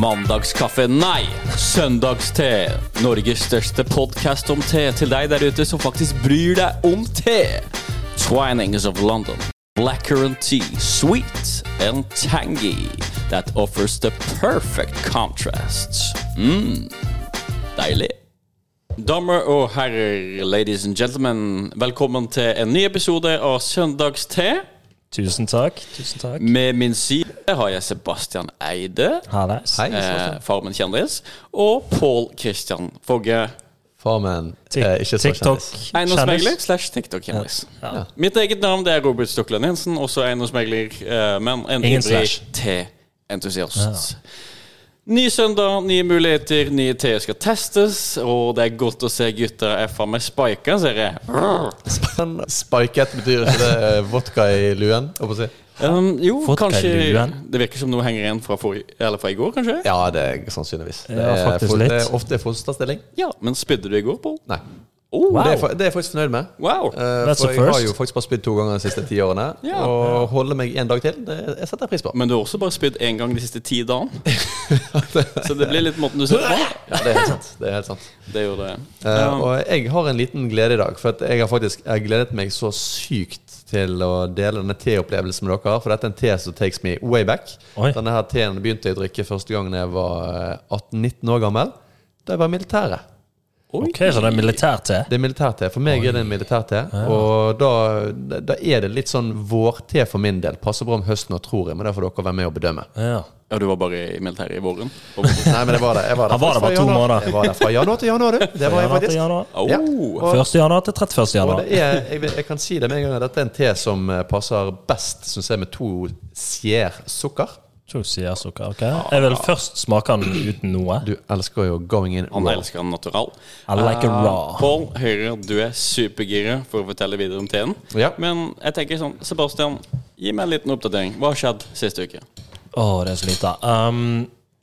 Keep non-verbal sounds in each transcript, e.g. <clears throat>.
Mandagskaffe, nei! Søndagste. Norges største podkast om te til deg der ute som faktisk bryr deg om te. Twinings of London. Blackcurrant tea, sweet and tangy, that offers the perfect contrast. Mm. Deilig. Damer og herrer, ladies and gentlemen, velkommen til en ny episode av Søndagste. Tusen takk. Tusen takk. Mm. Med min side har jeg Sebastian Eide, Hallais. Hei, eh, Farmen kjendis, og Pål Christian Fogge. Farmen Tik- er eh, ikke så TikTok. kjendis. Eiendomsmegler slash TikTok-kjendis. Ja. Mitt eget navn det er Robert Stoklen Jensen, også eiendomsmegler, eh, men en Ingen ivrig slash. te-entusiast. Ny søndag, nye muligheter, nye teer skal testes, og det er godt å se gutta er faen meg spika, ser jeg. Spennende. Spiket betyr ikke det eh, vodka i luen? holdt på å si. Um, jo, Vodka i kanskje luen. Det virker som noe henger igjen fra, forrige- eller fra i går, kanskje? Ja, det er sannsynligvis. Det Ja, er, faktisk fol- litt. det er ofte fosterstilling. Ja, men spydde du i går, Pål? Nei. Oh, Wow. Det, er, fa- det er jeg faktisk fornøyd med. wow. Eh, That's for a jeg har first. jo faktisk bare spydd to ganger de siste ti årene. Ja. Og holde meg en dag til, det jeg setter jeg pris på. Men du har også bare spydd én gang de siste ti <laughs> dagene. Så det blir litt måten du ser på. Ja, det er helt sant. Det er helt sant. Det gjør det. Eh, og jeg har en liten glede i dag, for at jeg har faktisk jeg har gledet meg så sykt til å dele denne teopplevelsen med dere. For dette er en te som takes me way back. Oi. Denne her teen begynte jeg å drikke første gang da jeg var eh, 18-19 år gammel. Da jeg var i militæret. Oi. Ok, så det er militærte. Det er militærte. For meg er det en militærte. Og da, da er det litt sånn vårte for min del. Passer bra om høsten og tror jeg, men det får dere være med og bedømme. Ja. Ja, du var bare i militæret i <laughs> våren? Nei, men det var det. Jeg var der. Han var der Fra bare to januar- måneder. Jeg var der fra januar til januar, du. Det Januar var jeg til faktisk. januar. Oh. Ja. Og- 1. januar til 31. Og januar. det er, jeg, vil- jeg kan si det med en gang at dette er en te som eh, passer best, synes jeg, med to sier sukker. To sider sukker, ok. Jeg Ah. vil først smake den uten noe. Du elsker jo going in Han raw. elsker han natural. I like Ah. it raw. Pål Høyre, du er supergira for å fortelle videre om teen. Ja. Men jeg tenker sånn, Sebastian, gi meg en liten oppdatering. Hva har skjedd siste uke? Å, det er så lite. Um,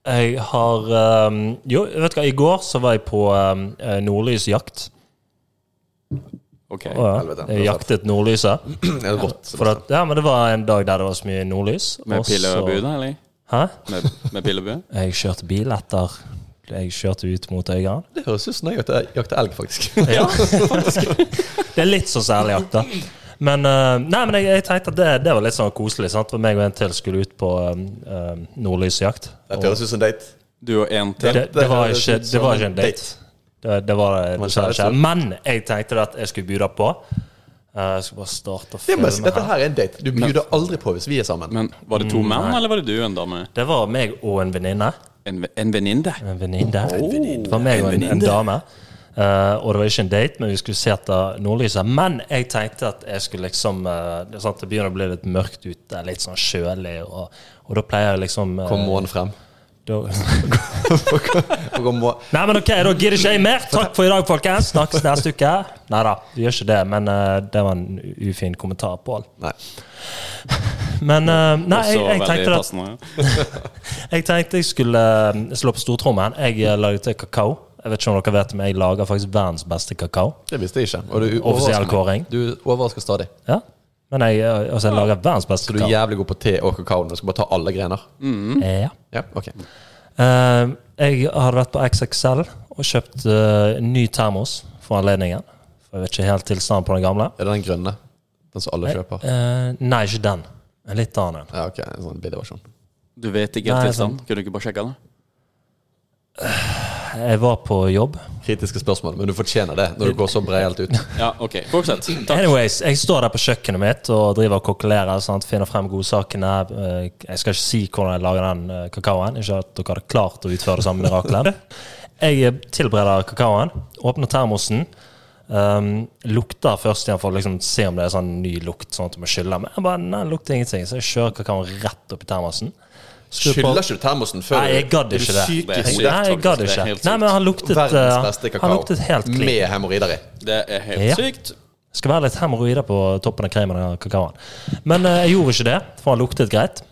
jeg har um, Jo, vet du hva, i går så var jeg på um, eh, nordlysjakt. Ok. Å, ja. Helvete. Jeg jaktet nordlyset. Det er <clears throat> rått. For at, ja, men det var en dag der det var så mye nordlys. Med og pil og så- bue, da? Eller? Hæ? Med, med pil og bue? Jeg kjørte bil etter Jeg kjørte ut mot Øygarden. Det høres ut som jeg jakter jakter elg, <laughs> faktisk. Ja, faktisk. Det er litt så særlig jakt, da. Men, eh, nei, men jeg, jeg tenkte at det, det var litt sånn koselig. sant? For meg og en til skulle ut på eh, eh, nordlysjakt. Dette høres ut som en date. Du og en Det, til? det, var ikke, det var ikke en date. Det, det var var det var kjæreste. ikke. Men jeg tenkte at jeg skulle by deg på. Eh, Jeg skal bare starte og Det er mest, filme dette her. her er en date. Du bjuder aldri på hvis vi er sammen. Men var det to Mm, menn, eller var det du og en dame? Det var meg og en venninne. En, en venninne? En venninne. Det var meg og en, en dame. Eh, og det var ikke en date, men vi skulle se etter nordlyset. Men jeg tenkte at jeg skulle liksom eh, det, er sant, det begynner å bli litt mørkt ute, litt sånn kjølig, og, og da pleier jeg liksom eh, Kom månen frem. <laughs> da, Og kom må- Nei, men ok, da gidder ikke jeg mer. Takk for i dag, folkens. Snakkes neste uke. Nei da, vi gjør ikke det, men eh, det var en ufin kommentar, Pål. Nei. Men eh, nei, Også jeg, jeg veldig tenkte at passende. Jeg tenkte jeg skulle eh, slå på stortrommen. Jeg eh, lagde til kakao. Jeg vet ikke om dere vet, men jeg lager faktisk verdens beste kakao. Det visste jeg ikke. Og du Offisiell overrasker meg. kåring. Du overrasker stadig. Ja. Men jeg, eh, altså, jeg lager verdens beste Du er kakao. jævlig god på te og kakao. Du skal bare ta alle grener. Ja. Ja, ok. Eh, jeg har vært på XXL og kjøpt eh, ny termos for anledningen. For jeg vet ikke helt tilstanden på den gamle. Er det den grønne? Den som alle kjøper? Eh, nei, ikke den. En litt annen en. Ja, ok. En sånn billig versjon. Du vet ikke Nei, helt sånn. tilstand? Kunne du ikke bare sjekka det? Jeg var på jobb. Kritiske spørsmål, men du fortjener det når du går så breialt <laughs> ut. Ja, ok. Fortsett. <clears throat> Takk. Anyways, jeg står der på kjøkkenet mitt og driver og kokulerer. Sant? Finner frem godsakene. Eh, Jeg skal ikke si hvordan jeg lager den eh, kakaoen. Ikke at dere hadde klart å utføre det samme miraklet. Jeg eh, tilbereder kakaoen, åpner termosen. Um, lukter først igjen for å liksom se om det er sånn ny lukt, sånn at du må skylle. Men jeg bare, nei, det lukter ingenting, så jeg kjører kakaoen rett opp i termosen. Skrur på- Skyller ikke du termosen før Nei, jeg gadd ikke det. Sykt Det er i sykt. hodet. Nei, jeg gadd Det er ikke. helt sykt. Nei, men han luktet, eh, Verdens beste han kakao luktet helt clean. med hemoroider i. Det er helt Ja. sykt. Skal være litt hemoroider på toppen av kremen av kakaoen. Men eh, jeg gjorde ikke det, for han luktet greit.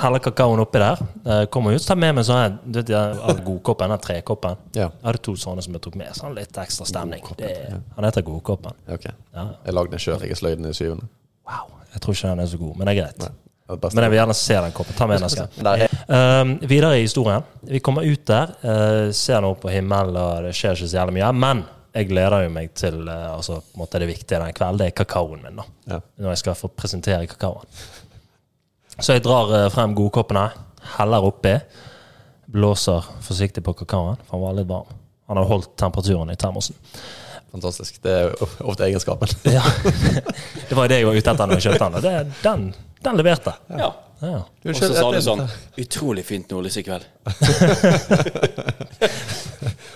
Heller kakaoen oppi der. Eh, kommer ut, så tar jeg med meg sånn en du vet, jeg har godkoppen, den trekoppen. Ja. Jeg hadde to sånne som jeg tok med. Sånn litt ekstra stemning. Det, han heter Godkoppen. Ok. Jeg lagde den sjøl. Jeg sløy den i syvende. Wow. Jeg tror ikke den er så god, men det er greit. det beste. Men jeg vil gjerne se den koppen. Ta med den neste gang. Der er- Ehm, videre i historien. Vi kommer ut der, eh, ser noe på himmelen, og det skjer ikke så jævlig mye. Men jeg gleder jo meg til eh, altså, på en måte det viktige den kvelden. Det er kakaoen min, da. Ja. Når jeg skal få presentere kakaoen. Så jeg drar eh, frem godkoppen her, heller oppi, blåser forsiktig på kakaoen, for han var litt varm. Han har holdt temperaturen i termosen. Fantastisk. Det er jo <laughs> ofte <laughs> egenskapen. Ja. Det var jo det jeg var ute etter når jeg kjøpte den, og det, den, den leverte. Ja. Ja. Og så sa du sånn eh, Utrolig fint nordlys i kveld.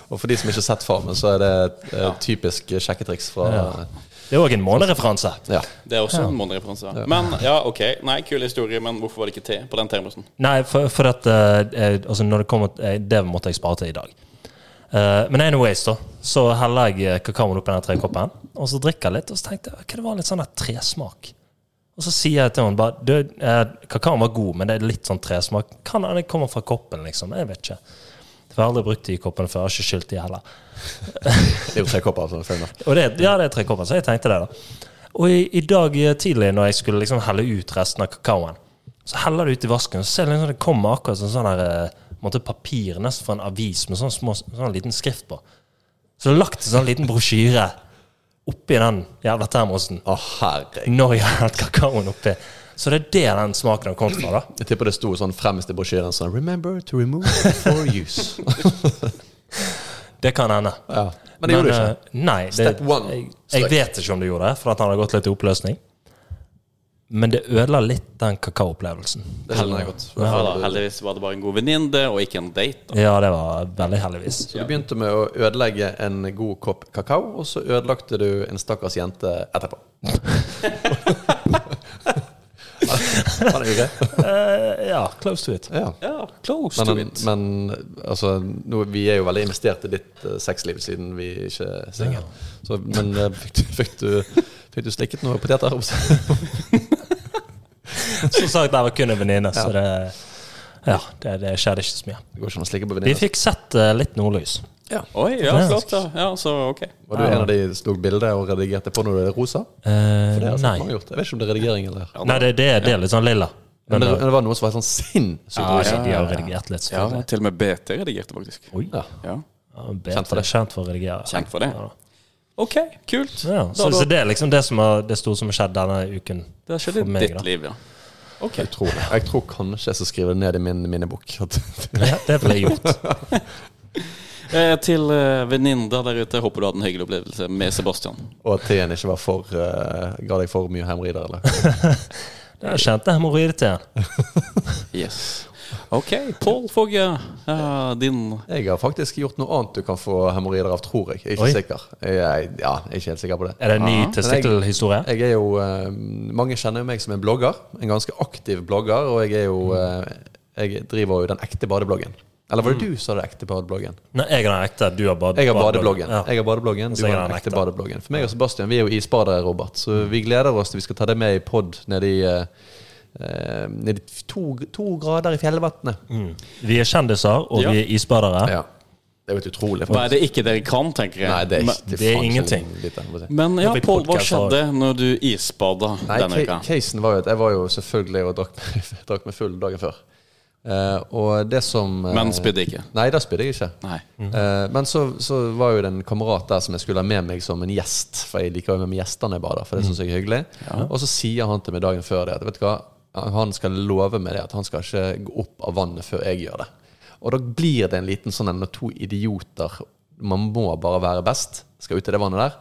Og for de som ikke har sett Farmen, så er det et eh, typisk sjekketriks fra Det er òg en månereferanse. Ja. Det er også en månereferanse. Men ja, ok. Nei, kul historie, men hvorfor var det ikke te på den termosen? Nei, for, for at eh, eh, altså når det kommer, eh, Det måtte jeg spare til i dag. Eh, men anyways, da. Så heller jeg eh, kakaoen oppi den trekoppen, og så drikker jeg litt. Og så tenkte jeg ok, det var litt sånn der tresmak. Og så sier jeg til henne bare du, eh, Kakaoen var god, men det er litt sånn tresmak. Kan hende det kommer fra koppen, liksom. Jeg vet ikke. For jeg har aldri brukt de koppene før. Jeg har ikke skylt de heller. Det er jo tre kopper, altså. fair enough. Og det, ja, det er tre kopper, så jeg tenkte det, da. Og i, i dag eh, tidlig, når jeg skulle liksom helle ut resten av kakaoen, så heller det ut i vasken, og så ser jeg liksom det kommer akkurat sånn sånn her eh, på en måte papir, nesten fra en avis, med sånn, små, sånn liten skrift på. Så det er lagt en sånn liten brosjyre oppi den jævla termosen. Å, herregud. Når jeg har hatt kakaoen oppi. Så det er det den smaken har kommet fra, da. Jeg tipper det sto sånn fremmest i brosjyren sånn Remember to <laughs> remove for use. Det kan hende. Ja. Men det gjorde du ikke. eh, Nei, det, Step one. Jeg, Stuck. jeg vet ikke om det gjorde det, for at han hadde gått litt i oppløsning. Men det ødela litt den kakaoopplevelsen. Det skjønner jeg godt. Ja, da, heldigvis var det bare en god venninne og ikke en date. Da. Ja, det var veldig heldigvis. Så du begynte med å ødelegge en god kopp kakao, og så ødelagte du en stakkars jente etterpå. Var det greit? Eh, ja, close to it. Ja. Ja, close to Men, it. men altså, nå, vi er jo veldig investert i ditt eh, sexliv siden vi ikke er singel. Så- Men eh, fikk du, fikk, du, fikk du slikket noen poteter? Som sagt, jeg var kun en venninne, så det, ja, det, det skjedde ikke så mye. Det går ikke an å slikke på Vi venninner. fikk sett eh, litt nordlys. Oi, ja, flott, da. Ja, så ok. Var du en av de som tok bilde og redigerte på når du er rosa? Eh, Det har jeg sett nei. mange gjort. Jeg vet ikke om det er redigering eller nei, det, det, det er litt sånn lilla. Men Men, det, eh, men det var noe som var helt sånn sinnssykt ja, rosa. ja, de har redigert litt. sånn. Ja, selvfølgelig. til og med BT redigerte, faktisk. Oi. Ja. Ja, Ja, BT, Kjent for det. Kjent for å redigere. Kjent for det. Ja, da. Ok, kult. Ja, Da så, da- så det er liksom det, som har, det store som har skjedd denne uken. det har skjedd i for meg, ditt da. liv, ja. Ok. Utrolig. Jeg tror kanskje jeg skal skrive det ned i min minnebok. <laughs> At Ja, det ble gjort. Eh, til eh, venninner der ute, håper du hadde en hyggelig opplevelse med Sebastian. og at teen ikke var for eh, ga deg for mye hemorider, eller? Det kjente hemoroider til en. Yes. Ok, Pål Fogge, eh, din Jeg har faktisk gjort noe annet du kan få hemoroider av, tror jeg. Jeg er ikke Oi. sikker. Jeg, jeg, ja, jeg er ikke helt sikker på det. Er det en ny testikkelhistorie? Jeg er jo eh, Mange kjenner jo meg som en blogger. En ganske aktiv blogger, og jeg er jo eh, Jeg driver jo den ekte badebloggen. Eller var det du som sa det ekte badebloggen? Nei, jeg er den ekte. Du har bad Jeg har badebloggen. Ja. Jeg har badebloggen, Du Så jeg har har den den ekte ekte. badebloggen. For meg og Sebastian vi er jo isbadet, Robert, så vi gleder oss til vi skal ta det med i pod nede i eh, eh, nede i to, to grader i fjellvannet. Mm. Vi er kjendiser, og Ja. vi er isbadere. Ja. Det er jo et utrolig Hva er det ikke dere kan, tenker jeg. Nei, det er, Men- ikke, det er faen ikke ingenting. lite, må jeg si. Men ja, Når vi Pål, hva podcaster- skjedde når du isbada Nei, denne ca- uka? casen var jo at jeg var jo selvfølgelig og drakk, drakk meg <laughs> full dagen før. Eh, og det som eh, Men spydde ikke. Nei, da spydde jeg ikke. Nei. Eh, Men så, så var jo det en kamerat der som jeg skulle ha med meg som en gjest. For jeg liker jo med meg gjestene jeg bader, for det syns jeg er hyggelig. Og så sier han til meg dagen før det at vet du hva, han skal love meg det at han skal ikke gå opp av vannet før jeg gjør det. Og da blir det en liten sånn en når to idioter Man må bare være best, skal ut i det vannet der.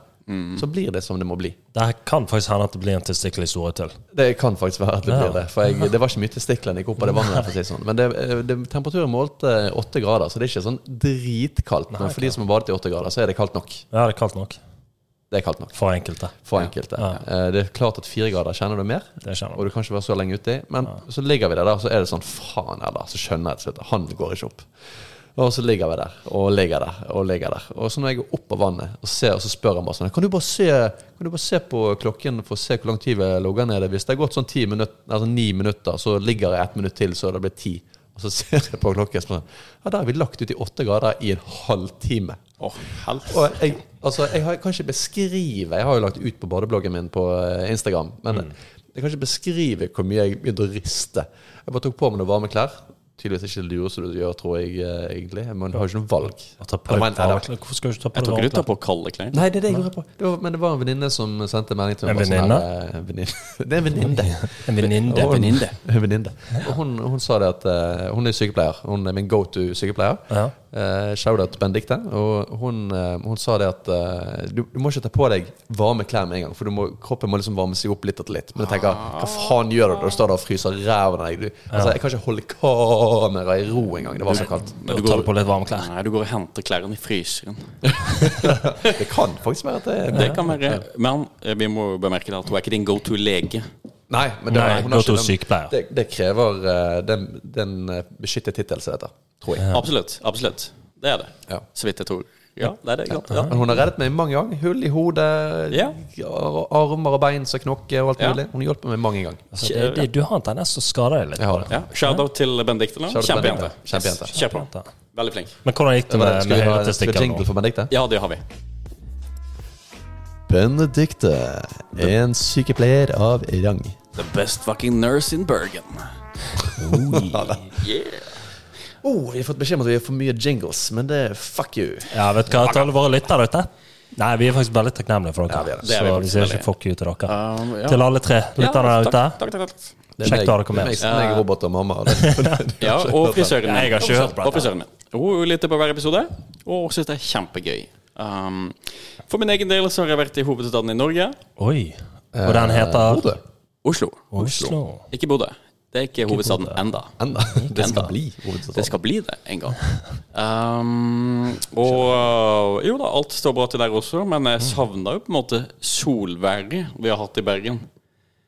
Så blir det som det må bli. Det her kan faktisk hende at det blir en testikkelhistorie til. Det kan faktisk være at det Ja. blir det. For jeg, det var ikke mye testikler jeg gikk opp av det vannet. der, For å si det sånn. Men det, det, temperaturen målte eh, åtte grader, så det er ikke sånn dritkaldt. Men for de som har badet i åtte grader, så er det kaldt nok. Ja, det er kaldt nok. Det er kaldt nok For enkelte. for enkelte. Eh, Det er klart at fire grader kjenner du mer, Det kjenner Sånn. og du kan ikke være så lenge uti. Men så ligger vi der, da, så er det sånn faen heller. Så skjønner jeg til slutt at han går ikke opp. Og så ligger vi der og ligger der og ligger der. Og så når jeg går opp av vannet og ser, og så spør han bare sånn Kan du bare se, kan du bare se på klokken for å se hvor lang tid vi har ligget nede? Hvis det har gått sånn ti minutter, altså ni minutter, så ligger jeg ett minutt til, så det blir ti. Og så ser jeg på klokken og spør Ja, der har vi lagt ut i åtte grader i en halvtime. Åh, helvete. Og jeg, Mm. altså, jeg har, kan ikke beskrive Jeg har jo lagt ut på badebloggen min på eh, Instagram. Men Jeg kan ikke beskrive hvor mye jeg begynte å riste. Jeg bare tok på meg noen varme klær. Tydeligvis ikke det lureste du gjør, tror jeg, eh, egentlig. Men du har jo ikke noe valg. Å ta på Eller, deg men- nei, det var- varmeklær. Hvorfor skal du ikke ta på Jeg deg tok ikke du varmeklær? tar på kalde klær. Nei, det er det jeg <laughs> gjorde på. Det var, men det var en venninne som sendte melding til meg. En bare sånn venninne? her, eh, venninne. <laughs> Det er en venninne. <laughs> En venninne. Og- venninne. <laughs> En venninne. Og hun, hun sa det at eh, hun er sykepleier. Hun er min go to sykepleier. Ja. Eh, Shout-out Benedicte. Og hun, eh, hun sa det at eh, du, du må ikke ta på deg varme klær med en gang, for du må, kroppen må liksom varme seg opp litt etter litt. Men jeg tenker, hva faen gjør du når du står der og fryser ræven av deg? Du, altså, jeg kan ikke holde kameraet i ro engang. Det var så kaldt. Da tar du på litt varmeklær. Nei, du går og henter klærne i fryseren. Det kan faktisk være at det er Det kan være Men eh, vi må jo bemerke det at hun er ikke din go to lege. Nei, men det, Nei, hun har gå til ikke den- sykepleier. Det, det krever eh, den, den eh, beskyttet tittel som dette, tror jeg. Absolutt. Absolutt. Det er det. Ja. Så vidt jeg tror. Ja, det er det. Ja. Ja. Men hun har reddet meg mange ganger. Hull i hodet, Ja. ar- armer og bein som knokker og alt Ja. mulig. Hun har hjulpet meg mange ganger. Altså, det, det, du har en tendens til å skade deg litt. Jeg har det. Ja, Shout-out til Benedicte. nå. Shout-out til Kjempejente. Benedicte. Kjempejente. Yes, Kjør på. Veldig flink. Men hvordan gikk det med, Skal med vi ha høyre en skal vi ha testikkel? jingle nå? for Benedicte? Ja, det har vi. Benedicte, en sykepleier av rang. The best fucking nurse in Bergen. Yeah. Oh, jeg har fått beskjed om at vi har for mye jingles, men det fuck you. Ja, vet du hva, til alle våre lyttere ute? Nei, vi er faktisk veldig takknemlige for Ja, vi dere. er det. Det er vi så faktisk vi sier veldig. ikke fuck you til dere. Um, ja. Til alle tre lytterne der ute. takk, takk, takk, takk. Det er Kjekt meg- å ha dere med Det oss. er meg, meg, robot og <laughs> mamma. og det- Ja, og frisøren min. Nei, jeg har ikke hørt på Og frisøren min. Hun lytter på hver episode, og syns det er kjempegøy. Um, for min egen del så har jeg vært i hovedstaden i Norge. Oi. Og den heter Eh, Bodø. Oslo. Oslo. Ikke Bodø. Det er ikke hovedstaden enda. Enda. Det skal Enda. bli Det hovedstaden. skal bli det en <laughs> gang. Um, og eh, jo da, alt står bra til der også, men jeg savna jo på en måte solværet vi har hatt i Bergen.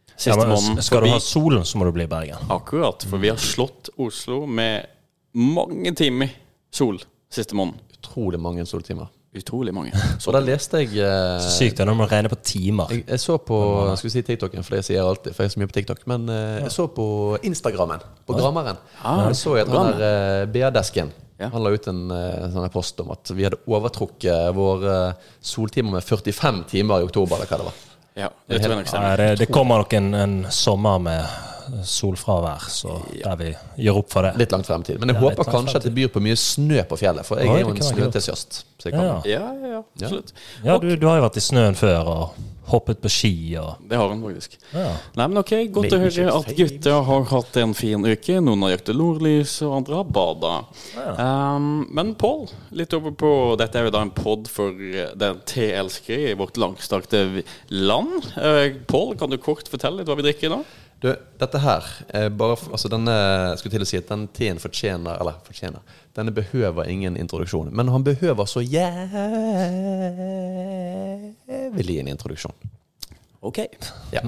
Ja, Siste men, måneden. skal Fordi- du ha solen, så må du bli i Bergen. Akkurat, for vi har slått Oslo med mange timer sol siste måneden. Utrolig mange soltimer. Utrolig mange. Og der leste jeg eh, Sykt det er når man regner på timer. Jeg, jeg så på jeg skulle si TikToken, for det sier jeg alltid, for jeg er så mye på TikTok. Men eh, jeg så på Instagrammen, på Grammeren. Ah, jeg så jeg at han der eh, BA-desken Ja. Han la ut en eh, sånn her post om at vi hadde overtrukket vår eh, soltimer med 45 timer i oktober, eller hva det var. <laughs> Ja, det tror jeg nok Nei, stemmer. det, det kommer nok en, en sommer med solfravær, så der vi gjør opp for det. Litt langt fremtid. Men jeg Ja, litt håper langt kanskje at det byr på mye snø på fjellet, for jeg Oi, er jo det en kan være kult. snøentusiast. Så jeg kan Ja, Ja, ja, ja, absolutt. ja du, du har jo vært i snøen før og hoppet på ski og Det har hun faktisk. ja. <laughs> Nei, men ok, Godt å høre at gutta har hatt en fin uke. Noen har jaktet nordlys, og andre har bada. Um, men Pål, litt over på Dette er jo da en pod for eh, den te-elskere i vårt langstrakte vi- land. Uh, Pål, kan du kort fortelle litt hva vi drikker i dag? Du, dette her eh, bare for, altså denne, jeg skulle til å si at den teen fortjener Eller fortjener Denne behøver ingen introduksjon. Men han behøver så jævlig en introduksjon. Ok. Ja.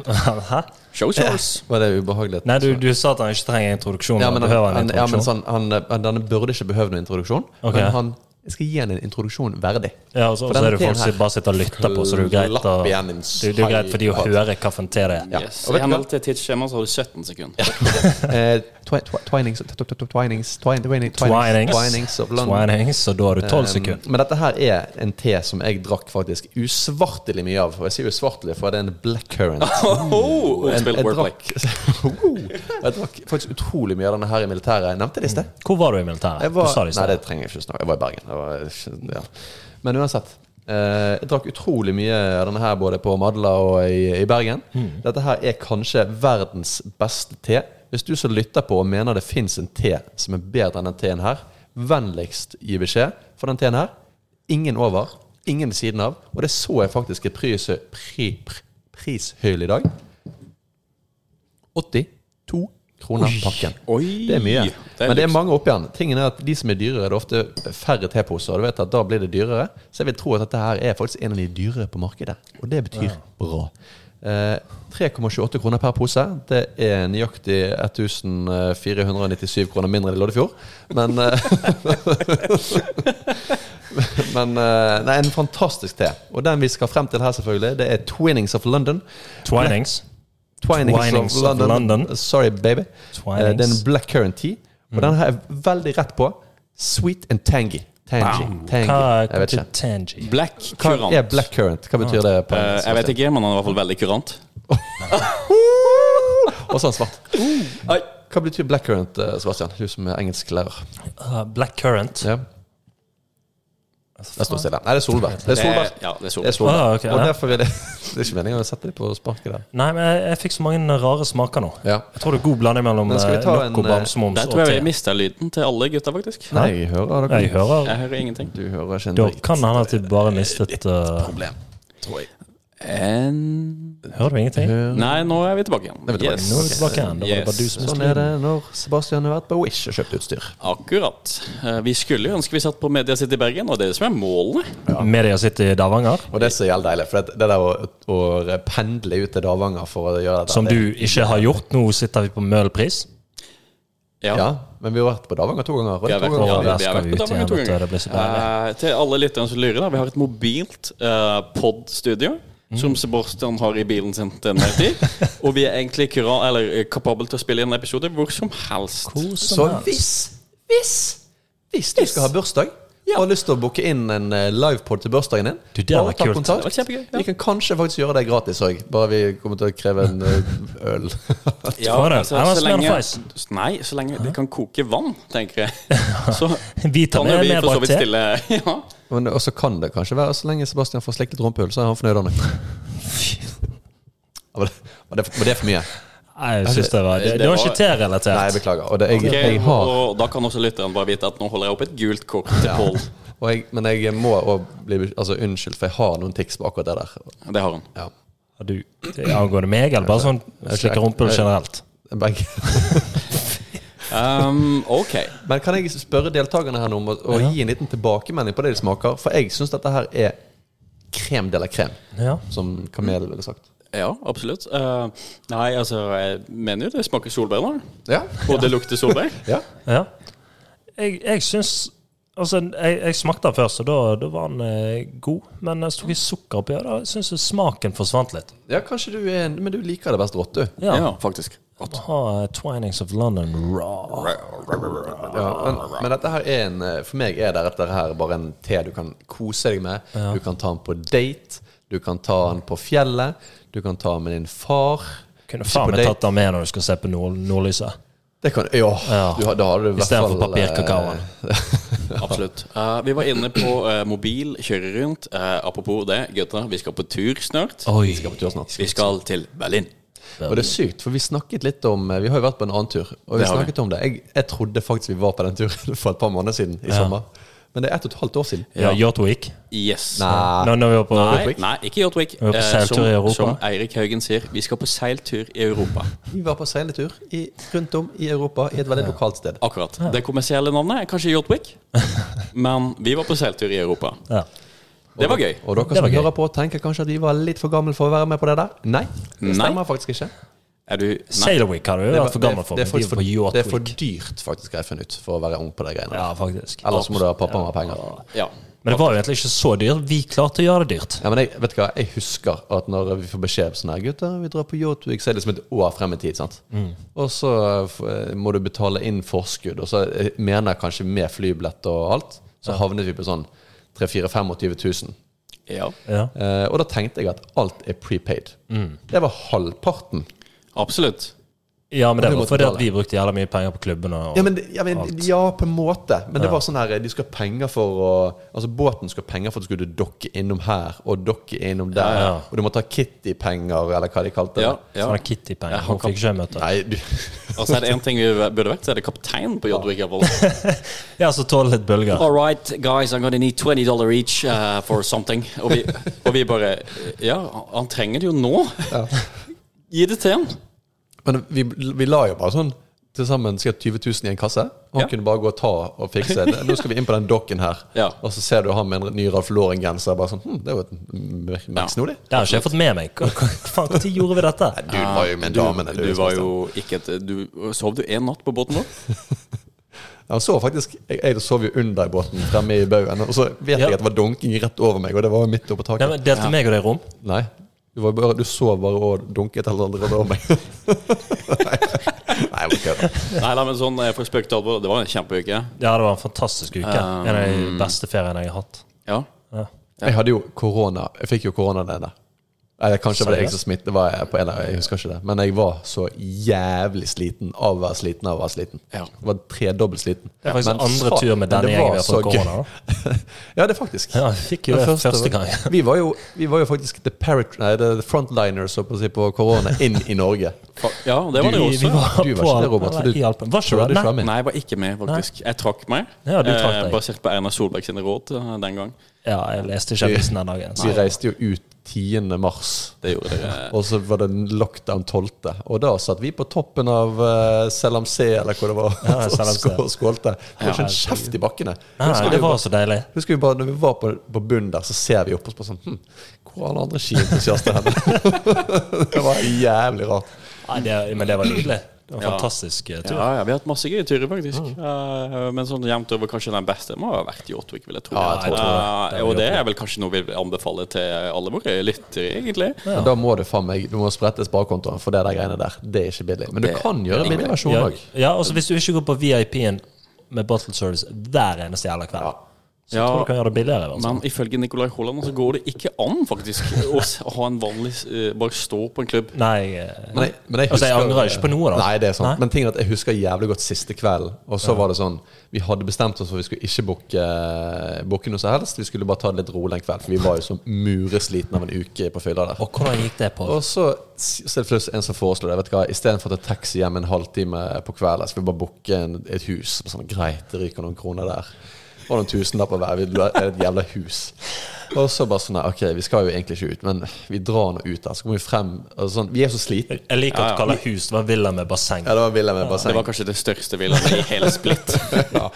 Hæ? Show shows. Var det ubehagelig? Nei, du, du sa at han ikke trenger introduksjon. ja, men, han han, behøver en han, ja, men introduksjon. sånn, han, eh, denne burde ikke behøve noen introduksjon. Ok. Men han, jeg skal gi han en introduksjon verdig. Ja, og så, For så denne er det folk teen her- som bare sitter og lytter på, så det er jo greit, å, Klapp igjen, din det, det er jo greit for de å psykopat. høre kaffen til det. Ja. Yes. Og vet I du hva? henhold til tidsskjemaet så har du 17 sekunder. Eh, twi- twi- Twinings tw- tw- tw- Twinings twin- twinings- Twinings. Twinings of London. Twinings, og da har du tolv sekunder. Um, Men dette her er en te som jeg drakk faktisk usvartelig mye av. Og jeg sier usvartelig, for det er en blackcurrant. <laughs> Oh, Jeg, ordspill, jeg, wordplay. drakk, <laughs> jeg drakk faktisk utrolig mye av denne her i militæret. Jeg nevnte det i sted. Hvor var du i militæret? Jeg var, du sa det i nei, det stad. trenger jeg ikke snakke Jeg var i Bergen. Jeg var, ja. Men uansett. eh, jeg drakk utrolig mye av denne her både på Madla og i, i Bergen. Mm. Dette her er kanskje verdens beste te. Hvis du som lytter på og mener det fins en te som er bedre enn den teen her, vennligst gi beskjed. For den teen her, ingen over, ingen ved siden av. Og det så jeg faktisk er pris, pri, pri, prishøyl i dag. 82 kroner pakken. Oi. Det er mye. Det er Men det er lyst. mange oppi den. Tingen er at De som er dyrere, det er ofte færre teposer. Og du vet at Da blir det dyrere. Så jeg vil tro at dette her er faktisk en av de dyrere på markedet. Og det betyr bra. Eh, 3,28 kroner per pose. Det er nøyaktig 1497 kroner mindre enn det lå i fjor. Men eh, <laughs> Men eh, Nei, en fantastisk te. Og den vi skal frem til her, selvfølgelig, det er Twinnings of London. Twinings. Eh, Twinings, Twinings of, of London. London. Sorry, baby. Twinings. Eh, Det er en black currant tea. Og den her er veldig rett på. Sweet and tangy. Tangy. tangy. Hva Jeg vet er ikke. Mm. Eh, Tangy? Black Hva er kurant. black currant? Hva betyr det på Eh, jeg vet ikke, men han er i hvert fall veldig kurant. Og så er han svart. Oi. Hva betyr blackcurrant, eh, Sebastian? Du som er engelsklærer. Uh, Black Current. Ja. Det står stille. Nei, det er solbær. Det er solbær. Det- Ja, det er Det er solbær. solbær. Ah, ok, Og ja. derfor vil jeg Det <laughs> er ikke meningen å sette dem på sparket der. Nei, men jeg, jeg fikk så mange rare smaker nå. Ja. Jeg tror det er god blanding mellom Men skal vi eh, ta en, Nocco, eh, Bamsemums Der og tror jeg vi te. mista lyden til alle gutta, faktisk. Nei, jeg hører dere. Jeg hører Jeg hører ingenting. Du hører ikke en Da dritt. kan det hende at de bare mistet eh, Problem, tror jeg. En... Hører du ingenting? Nei, nå er vi tilbake igjen. er vi tilbake. Yes. Nå er vi tilbake igjen. Da var det Yes. bare du som Sånn er det når Sebastian har vært på Wish og kjøpt utstyr. Akkurat. Eh, Vi skulle jo ønske vi satt på Media City Bergen, og det er det som er målet. Media sitter i Davanger, Og det er så jævlig deilig, for det, det der å, å pendle ut til Davanger for å gjøre dette som det- du ikke har gjort. Nå sitter vi på Møhlpris. Ja. Ja, men vi har vært på Davanger to ganger. Og Vi har de to vært, ganger ja, har vi, vi der vi har skal vært vi på ut Davanger igjen, to vet du, ganger. det blir så deilig. Eh, til alle lytterne som lurer, da. Vi har et mobilt eh, podstudio. Mm. Som Sebastian har i bilen sin til enhver <laughs> tid. Og vi er egentlig kura, eller, eh, kapable til å spille inn en episode hvor som helst. Så hvis, hvis, hvis du skal ha bursdag og har lyst til å booke inn en eh, livepod til bursdagen din, Du, det hadde bare vært ta kult. kontakt. Det hadde vært kjempegøy, ja. Vi kan kanskje faktisk gjøre det gratis òg, bare vi kommer til å kreve en eh, øl. <laughs> Ja, Tror jeg det. altså, Nei, men så smaker lenge, feis. nei, så lenge det kan koke vann, tenker jeg. Så Vi tar kan jo med vi mer for så bak vidt te. stille <laughs> ja. Men også kan det kanskje være så lenge Sebastian får slikket rumpehull, så er han fornøyd av meg. <laughs> Var det, var det, var det for mye? Nei, jeg synes det var Det, Det det var var- ikke Nei, te-relatert. jeg beklager. Og det, jeg, Ok, jeg har Og da kan også lytteren bare vite at nå holder jeg opp et gult kort til Pål. og jeg, Men jeg må òg bli altså, unnskyldt, for jeg har noen tics på akkurat det der. Det har han. Ja. Har du det angående meg, eller bare sånn slikke rumpehull generelt? Begge. <laughs> Um, ok. Men kan jeg spørre deltakerne her nå om å, å gi en liten tilbakemelding på det de smaker? For jeg syns dette her er krem de la krem, Ja. som Kamel ville sagt. Ja, absolutt. Eh, nei, altså, jeg mener jo det smaker solbær, da. Ja. Og det lukter solbær. ja. ja. Jeg, jeg syns Altså, jeg, jeg smakte den først, og da, da var den eh, god. Men jeg tok i sukker oppi, og da syns jeg smaken forsvant litt. Ja, kanskje du er en Men du liker det best rått, du. Ja. faktisk. Å Ha eh, Twinings of London raw. Ja, men, men dette her er en eh, For meg er det dette her bare en te du kan kose deg med. Du kan ta den på date. Du kan ta den på fjellet. Du kan ta den med din far. Kunne Ikke faen på meg date. tatt den med når du skal se på nord nordlyset. Det kan Ja. Ja. Du, har- da har du i hvert fall eh, Istedenfor papirkakaoen. Absolutt. Eh, vi var inne på eh, mobil, kjøre rundt. Eh, apropos det, gutter, vi skal på tur snart. Oi. Vi skal til Berlin. Og det er sykt, for vi snakket litt om eh, Vi har jo vært på en annen tur, og vi Det har vi. snakket om det. Jeg, jeg trodde faktisk vi var på den turen <laughs> for et par måneder siden i sommer. Men det er ett og et halvt år siden. Ja, Yacht Week. Yes. Ah. Nei. Når, når vi var på Nei, nei, ikke Yachtwick. Vi var på seiltur i Europa. som Eirik Haugen sier, vi skal på seiltur i Europa. Vi var på seiletur i, rundt om i Europa, i et veldig lokalt sted. Ah, Akkurat. Det kommersielle navnet er kanskje Yachtwick, <laughs> men vi var på seiltur i Europa. Ja. Det var gøy. Og dere Det var som gøy. hører på, tenker kanskje at vi var litt for gamle for å være med på det der? Nei, det Nei. stemmer faktisk ikke. Er du Nei. Sailor Week har du jo vært for gammel for. det, er men vi faktisk var på for, Yacht det er for Week. dyrt, faktisk, har jeg funnet ut, for å være ung på de greiene. Ja, der. faktisk. Ellers må du ha pappa med penger. Ja. Men det var jo egentlig ikke så dyrt. Vi klarte å gjøre det dyrt. Ja, men jeg, vet du hva, jeg husker at når vi får beskjed om sånn her Gutter, vi drar på Yachtweek, så er det liksom et år frem i tid. sant? Og så eh, må du betale inn forskudd, og så eh, mener jeg kanskje med flybillett og alt, så havnet vi på sånn 3 4 25 000. ja. Ja. Eh, og da tenkte jeg at alt er prepaid. Det var halvparten. Absolutt. Ja, men det du var måtte fordi at betale. vi brukte jævla mye penger på klubbene. Og, Ja, men, ja, men, ja på en måte. Men det var sånn her eh, De skal ha penger for å Altså, båten skal ha penger for at du skulle dokke innom her, og dokke innom der, Ja, ja. og du måtte ha Kitty-penger, eller hva de kalte det. Ja, ja. Sånne Kitty-penger. Hun kan- fikk ikke jeg møte. Nei, du <laughs> Altså, er det én ting vi burde vært, så er det kaptein på Yachtwick. Ja. Ja, så tål litt bølger. <laughs> All right, guys, I'm gonna need 20 dollar each uh, for something. Og vi, og vi bare Ja, han trenger det jo nå. Gi det til han. Men vi, vi la jo bare sånn til sammen sikkert 20 000 i en kasse. Og han Ja. kunne bare gå og ta og fikse. det. Nå skal vi inn på den dokken her. Ja. Og så ser du han med en ny Ralf Lauren-genser. Bare sånn hm, Det er jo et mer- mer snodig. Det har ikke jeg fått med meg. Hva hva faen, Når gjorde vi dette? Ah, Du liksom, altså. var jo sånn. med damene. Ah, Du var jo ikke et du, Sov du én natt på båten vår? Han så faktisk Jeg, jeg sov jo under i båten fremme i baugen, og så vet Ja. jeg at det var dunking rett over meg, og det var jo midt oppå Nei, taket. men Delte meg og deg rom? Nei. Du, var bare, du sov bare og dunket eller andre over meg. <laughs> Nei, jeg må kødde. <laughs> Nei, nei, men sånn eh, for spøk til alvor, det var en kjempeuke. Ja, det var en fantastisk uke. En av Mm. de beste feriene jeg har hatt. Ja. Jeg hadde jo korona. Jeg fikk jo korona den der. Eller kanskje var det jeg Seriøst? som smittet, det var jeg på en av, jeg husker ikke det. Men jeg var så jævlig sliten av å være sliten av å være sliten. Ja. Jeg var tredobbelt sliten. Det er faktisk Men andre faen, tur med denne men det gjengen vi var har fått så gøy. korona. da. ja, det er faktisk. Ja, vi fikk jo Den det første gang. vi, var jo, vi var jo faktisk the, parat, nei, the frontliners holdt på å si, på korona inn i Norge. Ja, det var det jo Vi, vi også. var Du var på ikke det, Robert, for eller, du- i Alpen. Var Så ikke var det? du fra Nei. med. Nei, jeg var ikke med, faktisk. Jeg trakk meg. eh, Ja, du trakk deg. basert på Einar Solberg sine råd. eh, Den gang. Ja, jeg leste ikke avisen den dagen. Vi reiste jo ut 10. mars. Det gjorde dere. Og så var det lockdown 12. Og da satt vi på toppen av uh, Selam C, eller hvor det var, Ja, og Selam C. <laughs> skå- skålte. Det var ikke en kjeft i bakkene. Nei, nei, det var så deilig. Husker vi bare, når vi var på, på bunnen der, så ser vi opp og spør sånn hm, Hvor er alle andre skientusiaster hen? <laughs> det var jævlig rart. Nei, det, men det var nydelig. Det var Ja. fantastisk eh, tur. Ja, ja, vi har hatt masse gøye turer, faktisk. Eh, men sånn jevnt over kanskje den beste må ha vært Jåtvik, vil jeg tro. Ja, jeg tror det. Eh, Det er og det er vel kanskje noe vi vil anbefale til alle våre lyttere, egentlig. Men Da må du faen meg Du må sprette sparekontoen for det der greiene der. Det er ikke billig. Men du Det- kan gjøre det er billig versjon Ja, òg. ja, og så hvis du ikke går på VIP-en med bottle service hver eneste jævla kveld, så Ja. tror jeg du kan gjøre det billigere. Altså. Men ifølge Nicolai Haaland så går det ikke an, faktisk, å s- å ha en vanlig eh, Bare stå på en klubb. Nei, eh, Men jeg, men jeg, Altså, jeg angrer ikke på noe, da. Nei, det er sant. Nei. Men tingen er at jeg husker jævlig godt siste kvelden. Og så var det sånn Vi hadde bestemt oss for vi skulle ikke booke booke noe som helst. Vi skulle bare ta det litt rolig en kveld, for vi var jo så mureslitne av en uke på fylla der. og hvordan gikk det på? Og så så er det plutselig en som foreslår det. Vet du hva, Istedenfor å ta taxi hjem en halvtime på kvelden, skal vi bare booke en- et hus. Sånn, greit, det ryker noen kroner der. Og noen tusenlapper hver. Vi la- Et jævla hus. Og så bare sånn nei, Ok, vi skal jo egentlig ikke ut, men vi drar nå ut der. Så kommer vi frem og sånn, Vi er så slitne. Jeg liker at du kaller hus det var villa med basseng. Ja, det var Wilhelm med basseng. Det var kanskje det største villaen i hele Split. ja.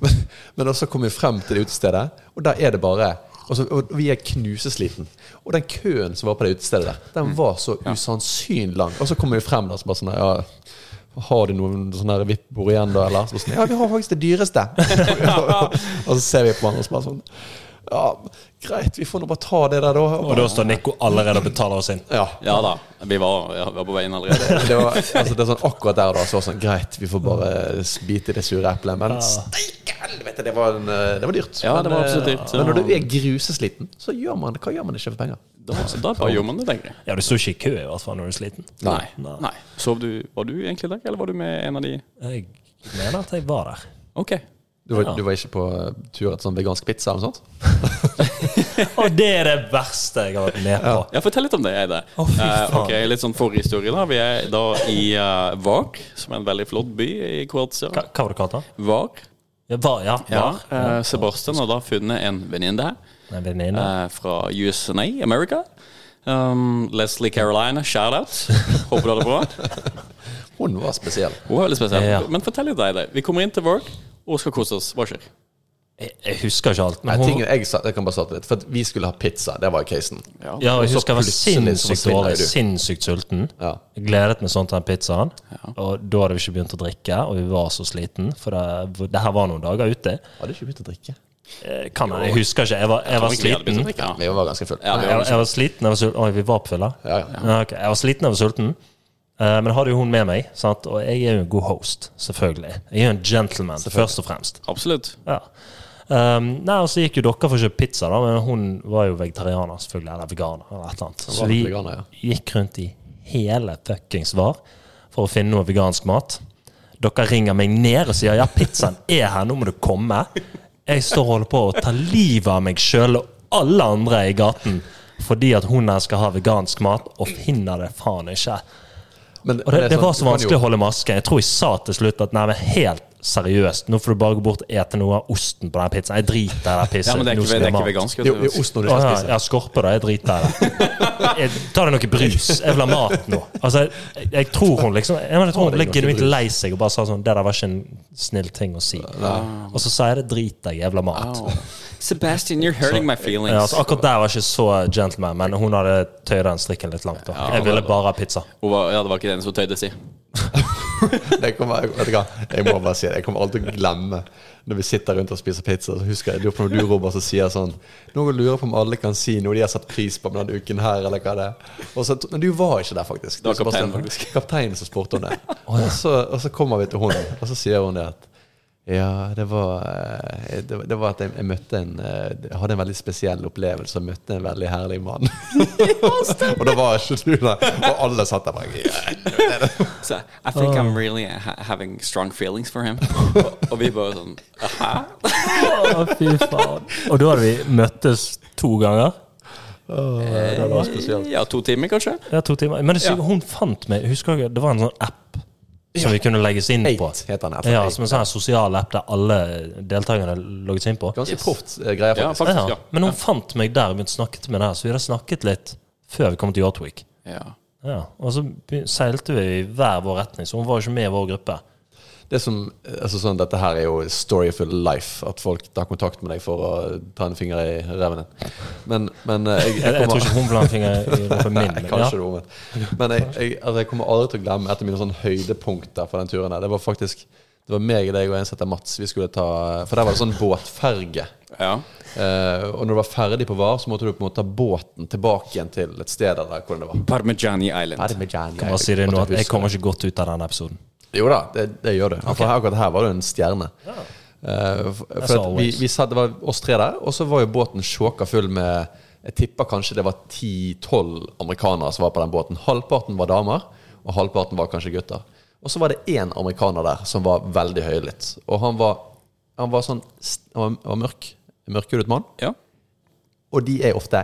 men, men også kom vi frem til det utestedet, og der er det bare og så- og vi er knusesliten. Og den køen som var på det utestedet der, den var så usannsynlig lang. Og så kommer vi frem der, så bare sånn ja, Har du noen sånne VIP-bord igjen, da? Eller? Så bare sånn, ja, vi har faktisk det dyreste. <laughs> og så ser vi på hverandre og så bare sånn Ja, greit, vi får nå bare ta det der, da. Og da står Nico allerede og betaler oss inn. ja. <laughs> Ja da. Vi var, ja, vi var på veien allerede. Det var, altså, det er sånn akkurat der da, så var det sånn Greit, vi får bare bite i det sure eplet. Men steike helvete, det var, en, eh, det var dyrt. Ja, det Men, var eh, absolutt dyrt, ja. Men når du er grusesliten, så gjør man hva gjør man ikke for penger? Da, da bare gjorde man det, tenker jeg. Ja, du står ikke i kø i hvert fall når du er sliten. Nei. Nei. Sov du, var du egentlig der, eller var du med en av de Jeg mener at jeg var der. Ok. Du var, du var ikke på eh, tur etter sånn vegansk pizza eller noe sånt? Og det er det verste jeg har vært med på. Ja, Fortell litt om det, Eide. Å, fy Eh, faen. ok, Litt sånn forhistorie. da Vi er da i eh, Var, som er en veldig flott by i Kroatia. Hva, hva var det kalt da? Var. Ja, var, ja, Ja, var. eh, Sebastian har da funnet en venninne her. En venninne. eh, fra USA, America. Um, Leslie Carolina, shout-out. Håper du har det bra. Hun var spesiell. Hun er veldig spesiell. Ja. Men fortell litt deg det. Vi kommer inn til Varg og skal kose oss. Hva skjer? Jeg, jeg husker ikke alt. Nei, Men hun, tingen jeg, sa- jeg kan bare starte litt For at vi skulle ha pizza. Det var casen. ja, jeg husker jeg var plutselig så sinnssykt forsvinner dårlig, du. sinnssykt sulten. Ja. Jeg Gledet meg sånn til den pizzaen. Og da hadde vi ikke begynt å drikke, og vi var så sliten, for det, det her var noen dager ute. Hadde ikke begynt å drikke. Eh, Kan jeg, jeg husker ikke. Jeg var, jeg var egentlig vi hadde sliten. begynt å drikke. Ja. Vi var ganske fulle. Ja, vi Jeg, jeg var sliten, jeg var sulten. Oi, vi var på fylla? Ja, ja. Ok, Jeg var sliten, jeg var sulten. Eh, Men hadde jo hun med meg, sant? og jeg er jo en god host, selvfølgelig. Jeg er jo en gentleman, først og fremst. Absolutt. Ja. Um, nei, og Så gikk jo dere for å kjøpe pizza, da, men hun var jo vegetarianer, selvfølgelig. Eller veganer. eller et eller annet. Så var vi nok veganer, ja. gikk rundt i hele fuckings Var for å finne noe vegansk mat. Dere ringer meg ned og sier 'ja, pizzaen er her, nå må du komme'. Jeg står og holder på å ta livet av meg sjøl og alle andre i gaten fordi at hun her skal ha vegansk mat, og finner det faen ikke. Men, Og men det, er det sånn, var så du kan vanskelig jo- å holde masken. Jeg tror jeg sa til slutt at nei, men helt seriøst, nå får du bare gå bort og ete noe av osten på den pizzaen. Jeg driter i det pisset. Ja, men det er Nå ikke, skal det er jeg ha ikke mat. vegansk. Det er jo- det er jo ost når du Å, skal ja, spise. ja, skorpe det. Jeg driter i det. Jeg, ta deg noe brus. Jeg vil ha mat nå. Altså, jeg, jeg tror hun liksom Jeg, mener, jeg tror hun ble noe genuint brus. lei seg og bare sa sånn Det der var ikke en snill ting å si. Og så sa jeg det driter jeg jævla mat. Sebastian, you're hurting my feelings. Ja, altså, akkurat der var jeg ikke så gentleman, men hun hadde tøyd den strikken litt langt. da Jeg ville bare ha pizza. Hun var, ja, det var ikke den som tøyde si. Det kommer, jeg, vet du hva, jeg må bare si det. Jeg kommer alltid til å glemme når vi sitter rundt og spiser pizza. Så husker jeg jeg lurer på når du, Robert, som sier sånn Nå lurer jeg på om alle kan si noe de har satt pris på med denne uken her, eller hva det er. Og så, men du var ikke der, faktisk. Det var Du, Sebastian, <laughs> kapteinen, faktisk. Kapteinen som spurte om det. Og så, og så kommer vi til hun, og så sier hun det at Ja, det var, eh, det, var- det var at jeg, jeg møtte en eh, Jeg hadde en veldig spesiell opplevelse og møtte en veldig herlig mann. <laughs> og da var ikke du der. Og alle satt der bare yeah. Så I think I'm really ha having strong feelings for him. og vi bare sånn Aha. Å, fy faen. Og da hadde vi møttes to ganger. Det var spesielt. Ja, to timer, kanskje? Ja, to timer. Men det, Ja. hun fant meg Husker dere, det var en sånn app som vi kunne legges inn på. Eight heter den. altså. Ja, Eight. som en sånn sosial app der alle deltakerne logget seg inn på. Ganske Yes. proft eh, greie, Ja, faktisk. faktisk. Ja, Ja. men hun fant meg der og begynte å snakke til meg der, så vi hadde snakket litt før vi kom til Yachtweek. Ja. Ja, og så be- seilte vi i hver vår retning, så hun var jo ikke med i vår gruppe. Det som, altså sånn, dette her er jo story of your life, at folk tar kontakt med deg for å ta en finger i reven din. Men, men eh, jeg, <laughs> Jeg, jeg jeg tror kommer ikke hun vil ha en finger i rumpa min. <laughs> Nei, men kanskje ja. det var omvendt. Men jeg, jeg, altså, jeg kommer aldri til å glemme et av mine sånn høydepunkter fra den turen. der Det var faktisk Det var meg, deg og en som heter Mats. Vi skulle ta For der var det sånn båtferge. ja. Eh, og når du var ferdig på VAR, så måtte du på en måte ta båten tilbake igjen til et sted der hvor det var. Parmigiani Island. Bare si det nå, at jeg kommer ikke godt ut av den episoden. Jo da, det, det gjør du. For her- akkurat her var du en stjerne. Eh, for for at vi, always. vi satt, det var oss tre der, og så var jo båten sjåka full med Jeg tipper kanskje det var 10-12 amerikanere som var på den båten. Halvparten var damer, og halvparten var kanskje gutter. Og så var det én amerikaner der som var veldig høylytt. Og han var, han var sånn st- Han var, han var mørk. Mørkhudet mann. Ja. Og de er ofte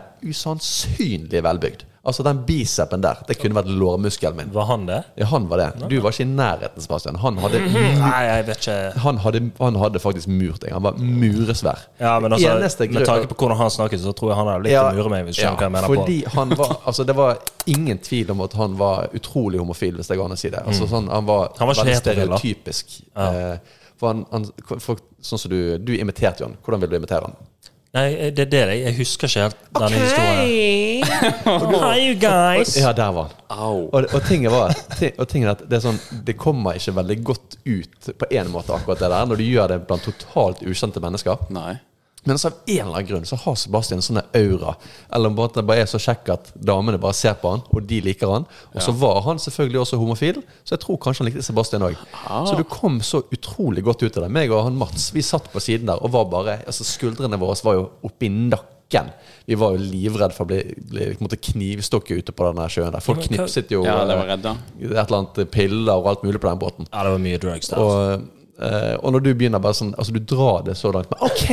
usannsynlig velbygd. Altså den bicepen der, det kunne vært lårmuskelen min. Var han det? Ja, han var det. Du var ikke i nærheten, Sebastian. Han hadde Nei, jeg vet ikke. han hadde, han hadde faktisk murt deg. Han var muresvær. Ja, men altså, Eneste grunn- Med tanke på hvordan han snakket, så tror jeg han hadde likt å mure meg. hvis du skjønner hva jeg mener fordi han var altså, Det var ingen tvil om at han var utrolig homofil, hvis det går an å si det. Altså, sånn, han var, Mm. Han var ikke veldig heterofil, da. stereotypisk. Eh, For han, han for, Sånn som du Du imiterte jo han. Hvordan ville du imitere han? på. Nei, eh, det er det jeg, jeg husker ikke helt denne historien. Hi, you guys. Ja, der var han. Au. Og, og tinget var ti- og tinget er at det, er sånn, det kommer ikke veldig godt ut på en måte, akkurat det der, når du gjør det blant totalt ukjente mennesker. Nei. Men så av en eller annen grunn så har Sebastian sånne aura. Eller bare at det bare er så kjekk at damene bare ser på han, og de liker han. Og så var han selvfølgelig også homofil, så jeg tror kanskje han likte Sebastian òg. Ah. Så du kom så utrolig godt ut av det. Meg og han Mats vi satt på siden der og var bare altså Skuldrene våre var jo oppi nakken. Vi var jo livredd for å bli, bli på en måte knivstukket ute på den der sjøen der. Folk Men hva- knipset jo Ja, de var eh, redde. et eller annet piller og alt mulig på den båten. Ja, det var mye drugs der. Og, eh, og når du begynner bare sånn Altså, du drar det så langt. Men, OK!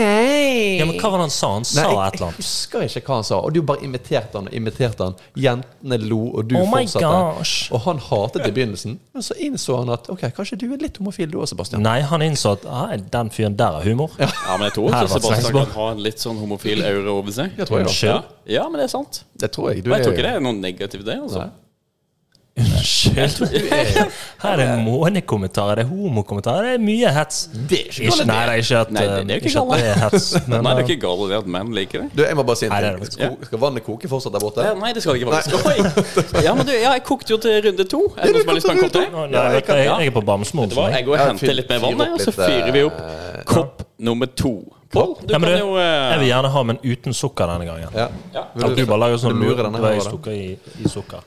Ja, men hva var det han sa? Han sa Nei, jeg, et eller jeg annet. husker ikke hva han sa. Og du bare imiterte han og imiterte han. Jentene lo, og du Oh my fortsatte. gosh. Og han hatet det i begynnelsen, men så innså han at ok, kanskje du er litt homofil du òg, Sebastian. Nei, han innså at nei, den fyren der har humor. Ja, men jeg tror Her også var Sebastian kan Svensborg. ha en litt sånn homofil aura over seg. Jeg tror jeg Unnskyld. Ja. ja, men det er sant. Det tror jeg. Du Og jeg tror jo- ikke det er noe negativt, det. altså. Unnskyld. Her er det månekommentarer, det er homokommentarer, det er mye hets. Det er ikke galt, Ikke, nei, det er ikke at, eh, Nei, det- det er jo ikke ikke at det er hets. Men, eh, Nei, det er ikke galt det at menn liker det. Du, jeg må bare si en Nei, det er ting. det Skal, skal vannet koke fortsatt der borte? Ja, Nei, det skal det ikke faktisk. Oi! Ja, men du, ja, jeg kokte jo til runde to. Er det noen som har lyst på en kopp til? Å, nei, vet du, jeg, jeg er på Bamsemor. Vet du hva, for meg. jeg går og Ja, henter fyr- litt mer fyr vann, opp jeg, og så litt, eh, fyrer vi opp kopp nummer to. Pål, du Ja, kan men jo du, jeg vil eh, gjerne ha, men uten sukker denne gangen. Ja. At du bare lager sånn Vil du lure lure denne hvor jeg her, da? stukker i, i sukker.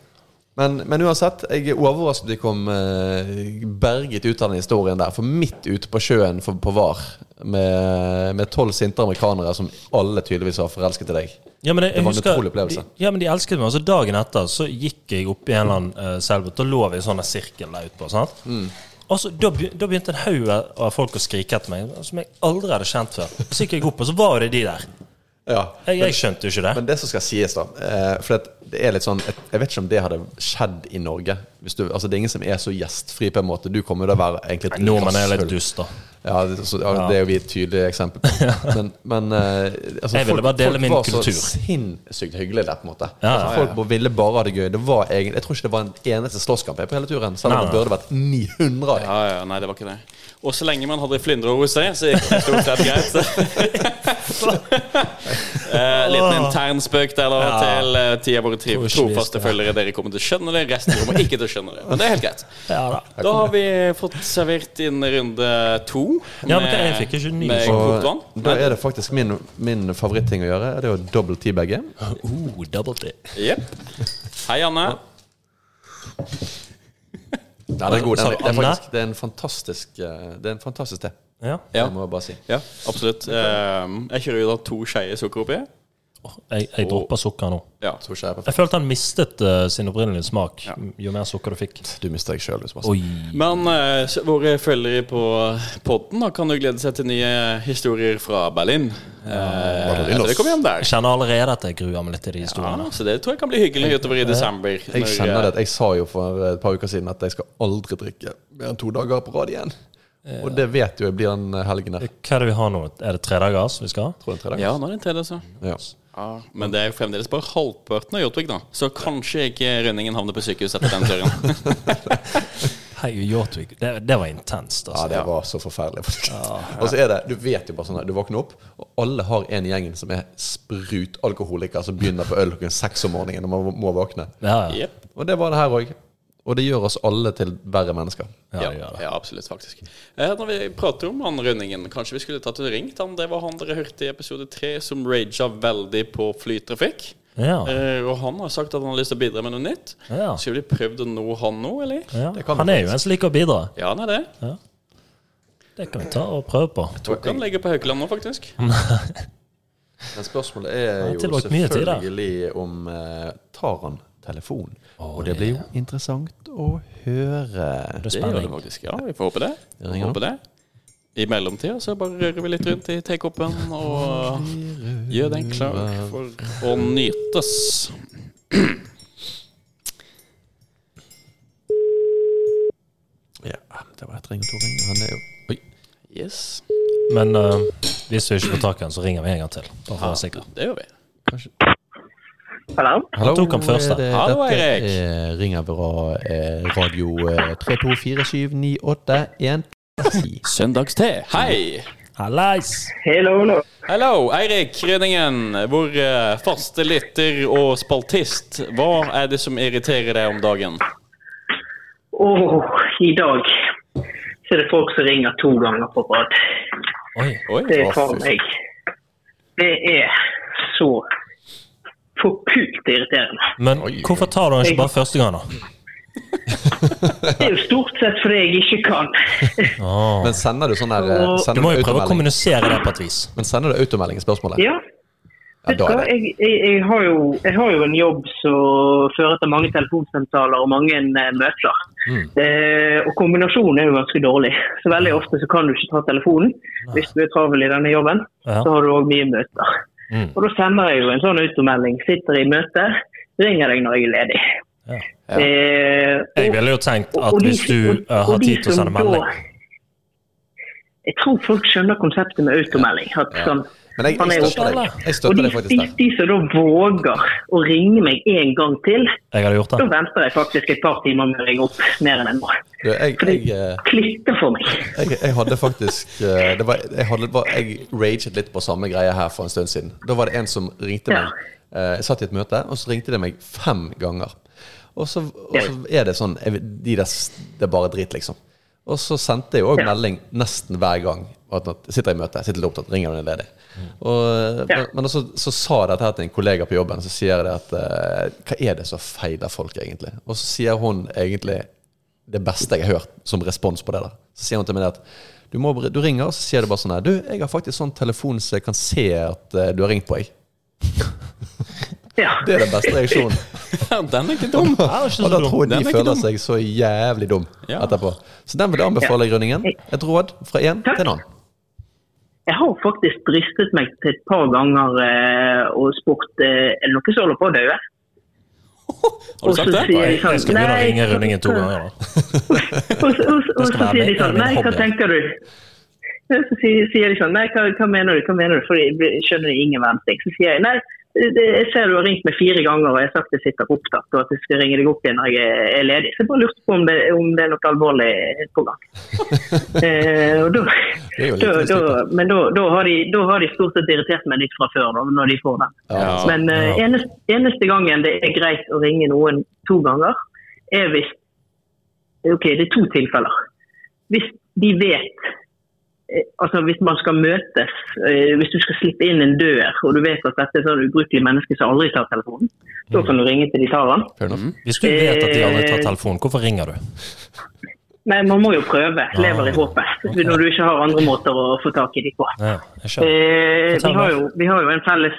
Men, men uansett, jeg er overrasket de kom eh, berget ut av den historien der. For midt ute på sjøen for, på VAR, med tolv sinte amerikanere som alle tydeligvis var forelsket i deg. Ja, men jeg, Det var en husker- utrolig opplevelse. De, ja, men de elsket meg. Og så dagen etter så gikk jeg opp i en eller annen uh, selbot. Da lå vi i sånn en sirkel der ute på. sant? Mm. Og så, da, begy- da begynte en haug av folk å skrike etter meg, som jeg aldri hadde kjent før. Så gikk jeg opp, og så var det de der. Ja, Jeg, jeg skjønte jo ikke det. Men det som skal sies, da eh, For det, det er litt sånn Jeg jeg vet ikke om det hadde skjedd i Norge. Hvis du, altså Det er ingen som er så gjestfri, på en måte. Du kommer jo til å være egentlig et Nordmenn er litt rasshull. dust, da. Ja, det, så, ja, det er jo vi et tydelig eksempel <laughs> på. Men, men eh, altså, Jeg ville bare dele min var kultur. så sinnssykt hyggelige der, på en måte. Ja, ja, altså, folk bare ville bare ha det gøy. Det var egen, jeg tror ikke det var en eneste slåsskamp jeg på hele turen, selv om Nei, det burde vært 900 av dem. Ja, ja, nei, det var ikke det. Og så lenge man hadde flyndre hos seg, så gikk det stort sett greit. eh, liten intern spøk der da Ja. til eh, ti av våre tri- Tror ikke vi trofaste skal- følgere. Dere kommer til å skjønne det, resten kommer ikke til å skjønne det. Men det er helt greit. Ja, da. Da har vi fått servert inn runde to. Ja, men jeg fikk ikke ny. med kokt Og vann. da er det faktisk min, min favoritting å gjøre. Det er jo double T-bagge. Uh, double T. Jepp. Hei, Anne. Ja, den er god. Den, Sa du er- det, er Anne? faktisk, det er en fantastisk eh, Det er en fantastisk te. Ja. Ja. Det må jeg bare si. Ja, absolutt. Ehm, jeg kjører jo da to skeier sukker oppi. Åh, Jeg, jeg dropper sukker nå. Ja. Tror ikke jeg er perfekt. Jeg følte han mistet eh, sin opprinnelige smak Ja. jo mer sukker du fikk. Du mister deg sjøl, du, Sebastian. Oi. Men eh, så våre følgere på podden da, kan jo glede seg til nye historier fra Berlin. Eh, Berlin, så det kommer hjem der. Jeg kjenner allerede at jeg gruer meg litt til de historiene. Ja, så det tror jeg kan bli hyggelig utover i desember. Jeg når, kjenner det eh, at jeg sa jo for et par uker siden at jeg skal aldri drikke mer enn to dager på rad igjen. Og det vet jo Eh. jeg blir den helgen der. Hva er det vi har nå? Er det tre dagers vi skal ha? Tror det er tre dager. Ja, nå er det en til, altså. Ja. Ja, men det er jo fremdeles bare halvparten av Jotvik, da. Så kanskje ikke Rønningen havner på sykehus etter den turen. Hei, Jotvik. Det, det var intenst, Ja, altså. det var så <laughs> forferdelig. Og så er det, Du vet jo bare sånn her, du våkner opp, og alle har en i gjengen som er sprut alkoholiker som begynner på øl klokken seks om morgenen når man må våkne. Ja, ja. Jep. Og det var det her òg. Og det gjør oss alle til verre mennesker. Ja, Ja, det gjør det. ja, absolutt, faktisk. Eh, når vi prater om han Rønningen, kanskje vi skulle tatt og ringt han. Det var han dere hørte i episode tre, som raga veldig på flytrafikk. Ja. Eh, og han har sagt at han har lyst til å bidra med noe nytt. Ah. Ja. Skulle vi prøvd å nå han nå, eller? Ja. Det kan vi Han er jo en som liker å bidra. Ja, han er det. Jeg Det kan vi ta og prøve på. tror ikke han ligger på Haukeland nå, faktisk. Men spørsmålet er har jo tilbrakt mye tid, da. selvfølgelig om eh, Tar han telefonen? og det blir jo interessant å høre. Det gjør Det er det spenning. faktisk. Ja, vi får håpe det. Jeg Vi ringer håper det. I mellomtida så bare rører vi litt rundt i take-upen og gjør den klar for å nytes. Ja, det var ett ring og to ring. Han er jo Oi. Yes. Men eh, hvis vi ikke får tak i han, så ringer vi en gang til. Bare for å være sikre. Det gjør vi. Hallo? Hallo, tok han først, da. er det- Hallo, dette Erik. er- ringer fra eh, radio eh, <laughs> 32479810. Søndagste. Hei! Hallais! Hello, hello. Hello, Eirik Rønningen, vår eh, faste lytter og spaltist. Hva er det som irriterer deg om dagen? Åh, i dag så er det folk som ringer to ganger på rad. Oi. Oi, Det er faen meg Det er så forpult irriterende. Men hvorfor tar du han ikke bare første gang, da? Det er jo stort sett fordi jeg ikke kan. Ah. Men sender du sånn der eh, Og- Du sender må jo prøve å automelding? kommunisere det på et vis. Men sender du automelding i spørsmålet? Ja, Ja, vet du da er hva? det. Jeg, jeg, jeg, har jo, jeg har jo en jobb som fører til mange telefonsamtaler og mange eh, møter. Mm. Eh, og kombinasjonen er jo ganske dårlig. Så veldig ofte så kan du ikke ta telefonen. Hvis du er travel i denne jobben, Ja. så har du òg mye møter. Mm. Og da sender jeg jo en sånn automelding. Sitter i møte, ringer deg når jeg er ledig. Ja. Eh, Jeg og- ville jo tenkt og- at og de- hvis du og- eh, og har de tid til å som sende da- melding Jeg tror folk skjønner konseptet med automelding. At sånn, Men jeg, han er jeg jo- støtter deg. Jeg og de, støtter deg faktisk de, der. de som da våger å ringe meg en gang til, Ah. Jeg hadde gjort da det. venter jeg faktisk et par timer med å ringe opp mer enn en må. Du, jeg, For jeg, det eh, klikker for meg. jeg, jeg hadde faktisk eh, det var, jeg, hadde, var, jeg raget litt på samme greie her for en stund siden. Da var det en som ringte meg. Eh, Jeg satt i et møte, og så ringte de meg fem ganger. Og så, og så er det sånn jeg vet- de der, s- Det er bare drit, liksom. Og så sendte jeg jo òg Ja. melding nesten hver gang. At at- sitter jeg i møte, sitter litt opptatt, ringer når jeg er ledig. Og, Ja. Men så, så sa jeg dette her til en kollega på jobben, så sier jeg det at eh, Hva er det som feiler folk, egentlig? Og så sier hun egentlig det beste jeg har hørt som respons på det. da Så sier hun til meg det at du, må, bare- du ringer, og så sier du bare sånn her Du, jeg har faktisk sånn telefon så jeg kan se at eh, du har ringt på, jeg. Ja. Det er den beste reaksjonen. <laughs> Den er ikke dum. Og da tror jeg Den er de ikke føler dum. seg så jævlig dum Ja. etterpå. Så den vil jeg anbefale i Grønningen. Et råd fra én Takk. til en annen. Jeg har faktisk dristet meg til et par ganger eh, og spurt eh, er det noen som holder på å dø. Har du sagt det? Jeg jeg skal begynne å ringe Rønningen to ganger, da. Og så, og, så- og skal så være med sier de i sånn min Nei, hva hobby. tenker du? Ja, Så sier, sier de sånn Nei, hva, hva mener du? Hva mener du? For jeg blir- skjønner ingen verdens ting. Så sier jeg nei, det, jeg ser du har ringt meg fire ganger og jeg har sagt jeg sitter opptatt og at jeg skal ringe deg opp igjen når jeg er- er ledig. Så jeg bare lurte på om det, om det er noe alvorlig på <laughs> gang. eh, og da, Det er jo litt da, da, mislykkende. men da, da, har de, da har de stort sett irritert meg litt fra før, da, når de får den. Ja. Men eh, eneste, eneste gangen det er greit å ringe noen to ganger, er hvis Ok, det er to tilfeller. Hvis de vet eh, Altså hvis man skal møtes, eh, hvis du skal slippe inn en dør, og du vet at dette er et sånn ubrukelig menneske som aldri tar telefonen, Mm. da kan du ringe til de tar den. Fair enough. Eh, Hvis du vet at de aldri tar telefonen, hvorfor ringer du? Nei, man må jo prøve. Lever i håpet. Når du ikke har andre måter å få tak i de på. Ja, jeg skjønner. Eh, vi, Fortell har meg. jo, vi har jo en felles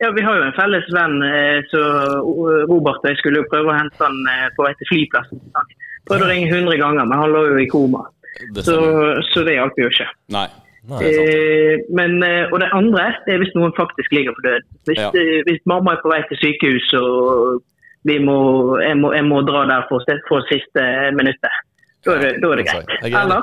ja, vi har jo en felles venn, eh, så eh, Robert og jeg skulle jo prøve å hente han eh, på vei til flyplassen. i dag. Prøvde å ringe 100 ganger, men han lå jo i koma. Det Så, stemmer. så det hjalp jo ikke. Nei. Nei, det er sant. Eh, men, eh, og det andre det er hvis noen faktisk ligger for døden. Hvis, Ja. eh, hvis mamma er på vei til sykehus og vi må, jeg, må, jeg må dra der for, for siste minuttet, da er det, da er det Ja, greit. jeg er enig. Eller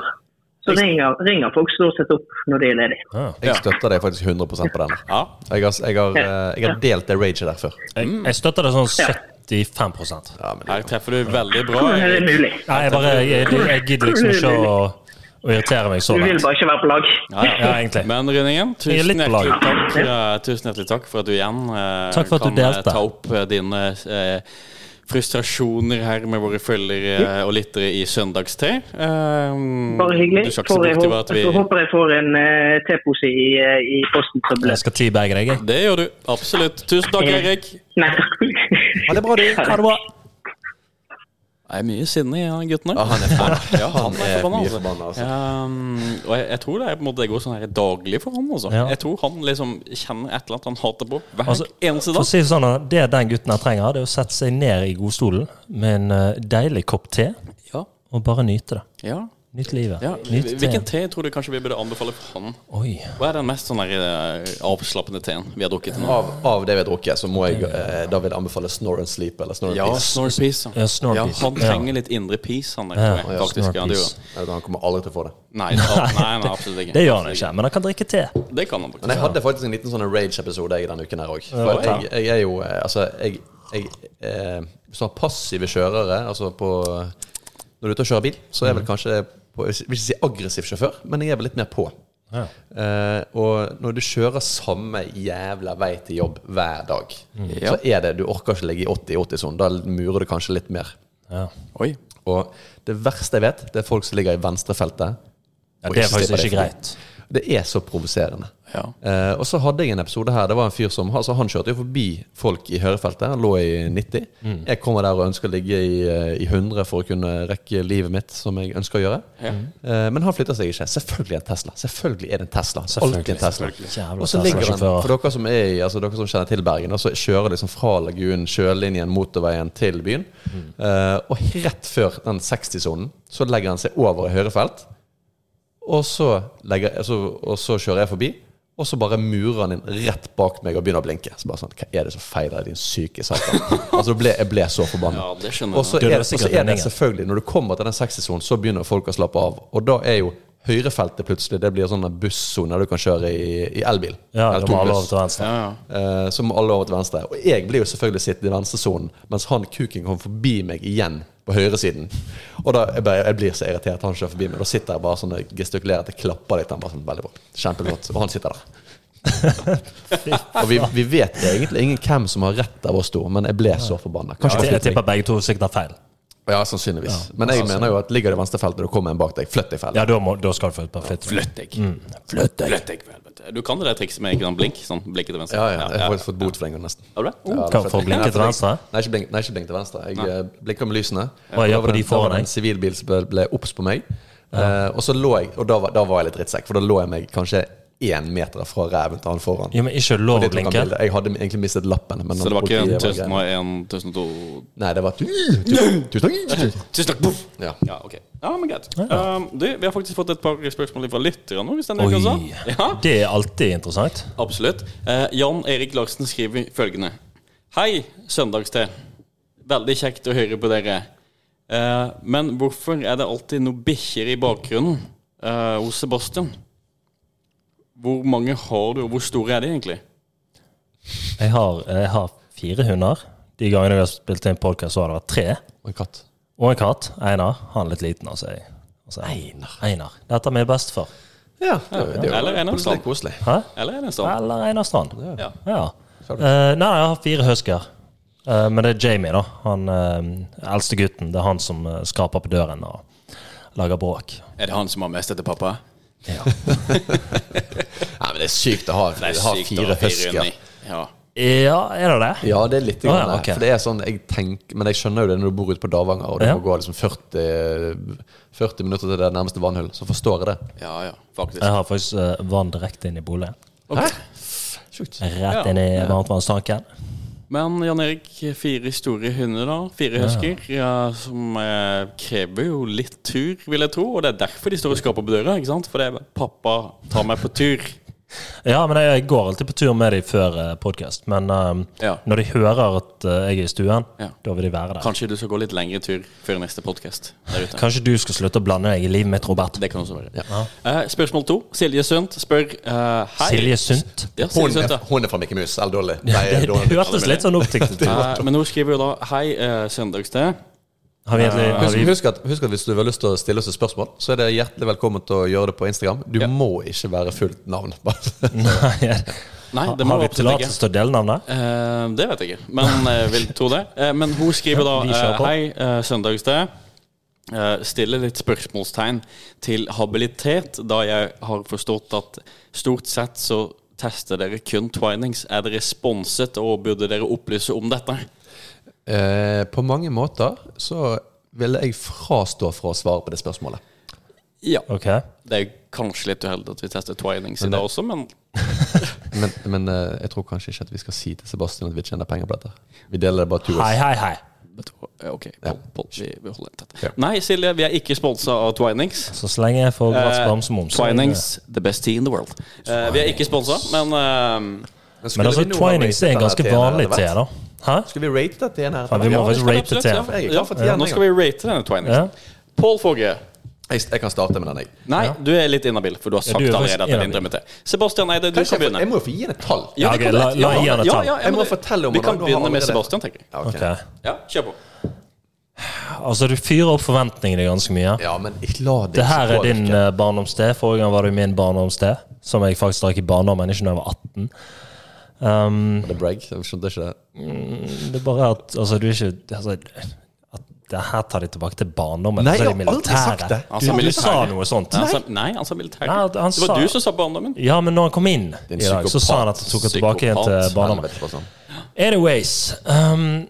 så ringer, ringer folk stort sett opp når de er ledige. Ja. Ja. Jeg støtter deg faktisk 100 på den. Ja. Mm. Jeg har, jeg har, eh, jeg har delt det raget der før. Jeg, jeg støtter det sånn Ja. 75 Ja, men Her treffer du veldig <laughs> bra. Hvordan er det Erik. mulig? Nei, jeg bare jeg, jeg, jeg gidder liksom ikke å, å irritere meg så Du vil langt. bare ikke være på lag. Ja, Ja, egentlig. Men Rønningen, Jeg er tusen litt på hjertelig, lag. takk, eh, tusen hjertelig takk for at du igjen eh, Takk for at du kan eh, delte. ta opp eh, dine eh, frustrasjoner her med våre følgere eh, og lyttere i Søndagste. Eh, Bare Du hyggelig. skal ikke Får se jeg bort håp- over at vi Så håper jeg får en eh, tepose i, eh, i posten. som blir- Jeg skal ti begge deg, jeg. Det gjør du. Absolutt. Tusen takk, Erik. Nei, takk. Ha det bra, <laughs> du. Ha det bra. Det er mye sinne i han gutten Ja, her. han er <laughs> forbanna. Ja, Han er forbanna, mye altså. forbanna, altså. Ehm, og jeg, jeg tror det er på en måte det går sånn her daglig for han. Altså. Ja. Jeg tror han liksom kjenner et eller annet han hater på hver Altså, eneste For å dag. si det sånn, det den gutten her trenger, det er å sette seg ned i godstolen med en eh, deilig kopp te Ja, og bare nyte det. ja, Nyte livet. ja. Nyte Hvilken teen. te tror du kanskje vi burde anbefale for han? Oi. Hva er den mest sånn her, eh, avslappende teen vi har drukket til nå? Av, av det vi har drukket, så må jeg eh, da vil jeg anbefale Snore and Sleep eller Snore and Ja, Peace. Snore Peace. Ja, Snore ja, Peace. han Ja. trenger litt indre peace, han der. Ja, tror jeg, ja, faktisk, Snore ja, det gjør Peace. han. Jeg vet, Han kommer aldri til å få det. Nei, al- nei, <laughs> nei, absolutt ikke. Det gjør han ikke, men han kan drikke te. Det kan han Men jeg faktisk. hadde faktisk en liten sånn rage-episode jeg denne uken her òg. Ja, For ja. jeg, jeg er jo eh, Altså, jeg, jeg eh, Sånn passive kjørere, altså på Når du er ute og kjører bil, så er jeg vel kanskje på, Jeg vil ikke si aggressiv sjåfør, men jeg er vel litt mer på. Ja. Eh, og når du kjører samme jævla vei til jobb hver dag, Ja. så er det Du orker ikke ligge i 80-80-sonen. Da murer du kanskje litt mer. Ja. Oi. Og det verste jeg vet, det er folk som ligger i venstrefeltet. Ja, og det er faktisk slipper ikke det fri. greit. Det er så provoserende. Ja. Eh, og så hadde jeg en episode her. Det var en fyr som altså, Han kjørte jo forbi folk i høyrefeltet. Han lå i 90. Jeg kommer der og ønsker å ligge i, eh, i 100 for å kunne rekke livet mitt, som jeg ønsker å gjøre. Ja. Eh, men han flytter seg ikke. Selvfølgelig er det en Tesla. Selvfølgelig er det en Tesla. Alltid en Tesla. Jævla Og så ligger han, Tesla-sjåfører. for dere som, er, i- altså dere som kjenner til Bergen, og så kjører liksom fra Lagunen, sjølinjen, motorveien til byen. Eh, og rett før den 60-sonen så legger han seg over i høyre felt. Og så, legger, altså, og så kjører jeg forbi, og så bare murer han inn rett bak meg og begynner å blinke. Så bare sånn, Hva er det som feiler din syke satan? altså, ble, jeg ble så forbanna. ja, det skjønner Og jeg. så Du, det er, er og så sikkert er det meningen. selvfølgelig, når du kommer til den 60-sonen, så begynner folk å slappe av. Og da er jo høyrefeltet plutselig Det blir sånn en bussone der du kan kjøre i, i elbil. Ja, Eller du må ha lov buss. til venstre. Ja, ja. Eh, Så må alle over til venstre. Og jeg blir jo selvfølgelig sittende i venstresonen, mens han kuken kommer forbi meg igjen på høyresiden. Og da jeg, bare, jeg blir så irritert. Han kjører forbi meg. Da sitter jeg bare sånn og gestikulerer at jeg klapper litt. Han bare sånn, veldig bra. Kjempeflott. Og han <laughs> sitter der. og vi, vi vet egentlig ingen hvem som har rett av oss to, men jeg ble så forbanna. Jeg, Kanskje det var jeg flytting. tipper begge to sikkert har feil. Ja, sannsynligvis. Men altså, jeg mener jo at ligger det i venstre feltet, og det kommer en bak deg, flytt deg feil. Ja, da, må, da skal du få et par flytt. Flytt deg. Mm. Flytt deg. for helvete. Du kan det der trikset med grønn blink? Sånn blikket til venstre. Ja, ja, jeg har faktisk fått bot for den gangen, nesten. Har du det? Oh. Ja, Hva, for å flytt deg. blinke Nei, til venstre? Nei, ikke blink, nei, ikke blink til venstre. Jeg eh, blinker med lysene. Hva gjør Da var på de det- da var foran det deg? en sivilbil som ble, ble obs på meg. Eh, og så lå jeg, og da var, da var jeg litt drittsekk, for da lå jeg meg kanskje én meter fra ræven til han foran. Jo, men ikke lov å Det tok han blinke. bilde. Jeg hadde egentlig mistet lappen. Men Så det var ikke politiet en 1000 var grei. og en 1002 Nei, det var tusen tusen- tusen- <laughs> Tusen takk. Poff. Ja. Ja, ok. Ja, men greit. Um, du, vi har faktisk fått et par spørsmål fra lytterne nå, hvis denne uka så. Oi. Ja, Det er alltid interessant. absolutt. Eh, Jan Erik Larsen skriver følgende. Hei, søndagste. Veldig kjekt å høre på dere. Eh, men hvorfor er det alltid noen bikkjer i bakgrunnen eh, hos Sebastian? Hvor mange har du, og hvor store er de egentlig? Jeg har, jeg har fire hunder. De gangene jeg har spilt inn podkast, har det vært tre. Og en katt. Og en katt. Einar. Han er litt liten, altså. Jeg, altså Einar. Dette er min bestefar. Ja, det, er jo- det, er jo Eller en av koselig, koselig. Hæ? Eller er det en sånn? Eller Einar Strand. Ja. Ja. Eh, nei, jeg har fire husker. Eh, men det er Jamie, da. Han eh, eldste gutten. Det er han som eh, skraper på døren og lager bråk. Er det han som har mest etter pappa? Nei, men det er sykt å ha, Det er ha sykt å fire ha fire husker. hunder. Ja. Ja, er det det? Ja, det er litt. Å, ja, grann det. ok. For det er sånn, jeg tenker, men jeg skjønner jo det når du bor ute på Davanger, og det Ja. må gå liksom 40, 40 minutter til det nærmeste vannhull. Så forstår jeg det. Ja, ja, faktisk. Jeg har faktisk eh, vann direkte inn i boligen. Ok. Sjukt. Ja. Rett inn i varmtvannstanken. Men Jan Erik, fire store hunder, da. Fire husker. Ja, som eh, krever jo litt tur, vil jeg tro. Og det er derfor de står og skraper på døra. ikke sant? For det er 'pappa, ta meg på tur'. Ja, men jeg går alltid på tur med dem før podkast. Men eh, Ja. når de hører at eh, jeg er i stuen, Ja. da vil de være der. Kanskje, Kanskje du skal gå litt lengre tur før neste podkast. du skal slutte å blande deg i livet mitt, Robert. Det kan også være. Eh, spørsmål to. Silje Sundt spør eh, Hei. Silje Sundt. Ja, Silje Hun, Sundt, ja. er- hun er fra Mikke Mus. Eller dårlig. Det, Nei, det dårlig. hørtes litt sånn oppdiktet ut. Eh, men hun skriver jo da Hei, uh, søndagssted. Har vi egentlig har Husk, vi, husk, at, husk at hvis du har lyst til å stille oss et spørsmål, så er det hjertelig velkommen til å gjøre det på Instagram. Du må ikke være fullt navn. <laughs> bare. Nei, Nei, det må har absolutt vi ikke. tillatelse til å dele navnet? Eh, det vet jeg ikke, men jeg vil tro det. Eh, men hun skriver da vi kjører eh, på. Hei, uh, søndagssted. Eh, stiller litt spørsmålstegn til habilitet, da jeg har forstått at stort sett så tester dere kun twinings. Er dere sponset, og burde dere opplyse om dette? Eh, på mange måter så ville jeg frastå fra å svare på det spørsmålet. Ja. Ok. Det er kanskje litt uheldig at vi tester twinings i Men det- dag også, men Men, men eh, jeg tror kanskje ikke at vi skal si til Sebastian at vi tjener penger på dette. Vi deler det bare to Hei, oss. hei, hei. Ja, Ok, Ja. pol, pol, vi, vi holder den tett. Ja. Nei, Silje, vi er ikke sponsa av Twinings. Så så lenge jeg får gratis Eh, bamsemums så er det- Twinings, the best tea in the world. Eh, vi er ikke sponsa, men eh, skulle Men altså, vi nå ha twinings er en ratet ganske denne vanlig teen her, te, eller hva? da. Hæ? Skulle vi rate dette igjen her? Ja, vi må Ja, faktisk skal vi rate absolutt, te. ja. Jeg er Ja, klar for te, Nå jeg. skal vi rate denne Twinings. Ja. Pål Fogge. Jeg, jeg kan starte med den, jeg. Nei, du er litt inhabil, for du har sagt du er faktisk allerede at det er din inhabil. drømmete. Sebastian Eide, du Kanskje kan jeg, får- begynne. jeg må jo få gi henne et tall. Ja, det ok, kan la- du. la Ja, gi han et ja, tall. ja, ja, Jeg må men du- fortelle om Vi det, kan du har begynne med allerede- Sebastian, tenker jeg. Ja, ok. Ok. Ja, kjør på. Altså, du fyrer opp forventningene ganske mye. ja men ikke la det Det her er påvirke. din eh, barndomssted. Forrige gang var det jo min barndomssted, som jeg faktisk drakk i barndommen, ikke da jeg var 18. Um, Det er brag. Jeg skjønte ikke det. det er bare at altså, du er ikke altså, at det her tar de tilbake til barndommen. Nei, så er jeg har aldri sagt det. Altså, Han Du, sa du sa militæret. noe sånt. Nei, han sa, nei, han sa militær. Nei, han- han det var sa- du som sa barndommen. Ja, men når han kom inn i Din dag, så psykopat. sa han at han tok han tilbake igjen til Psykopat. barndommen. Helvete, Sebastian. Anyways, um,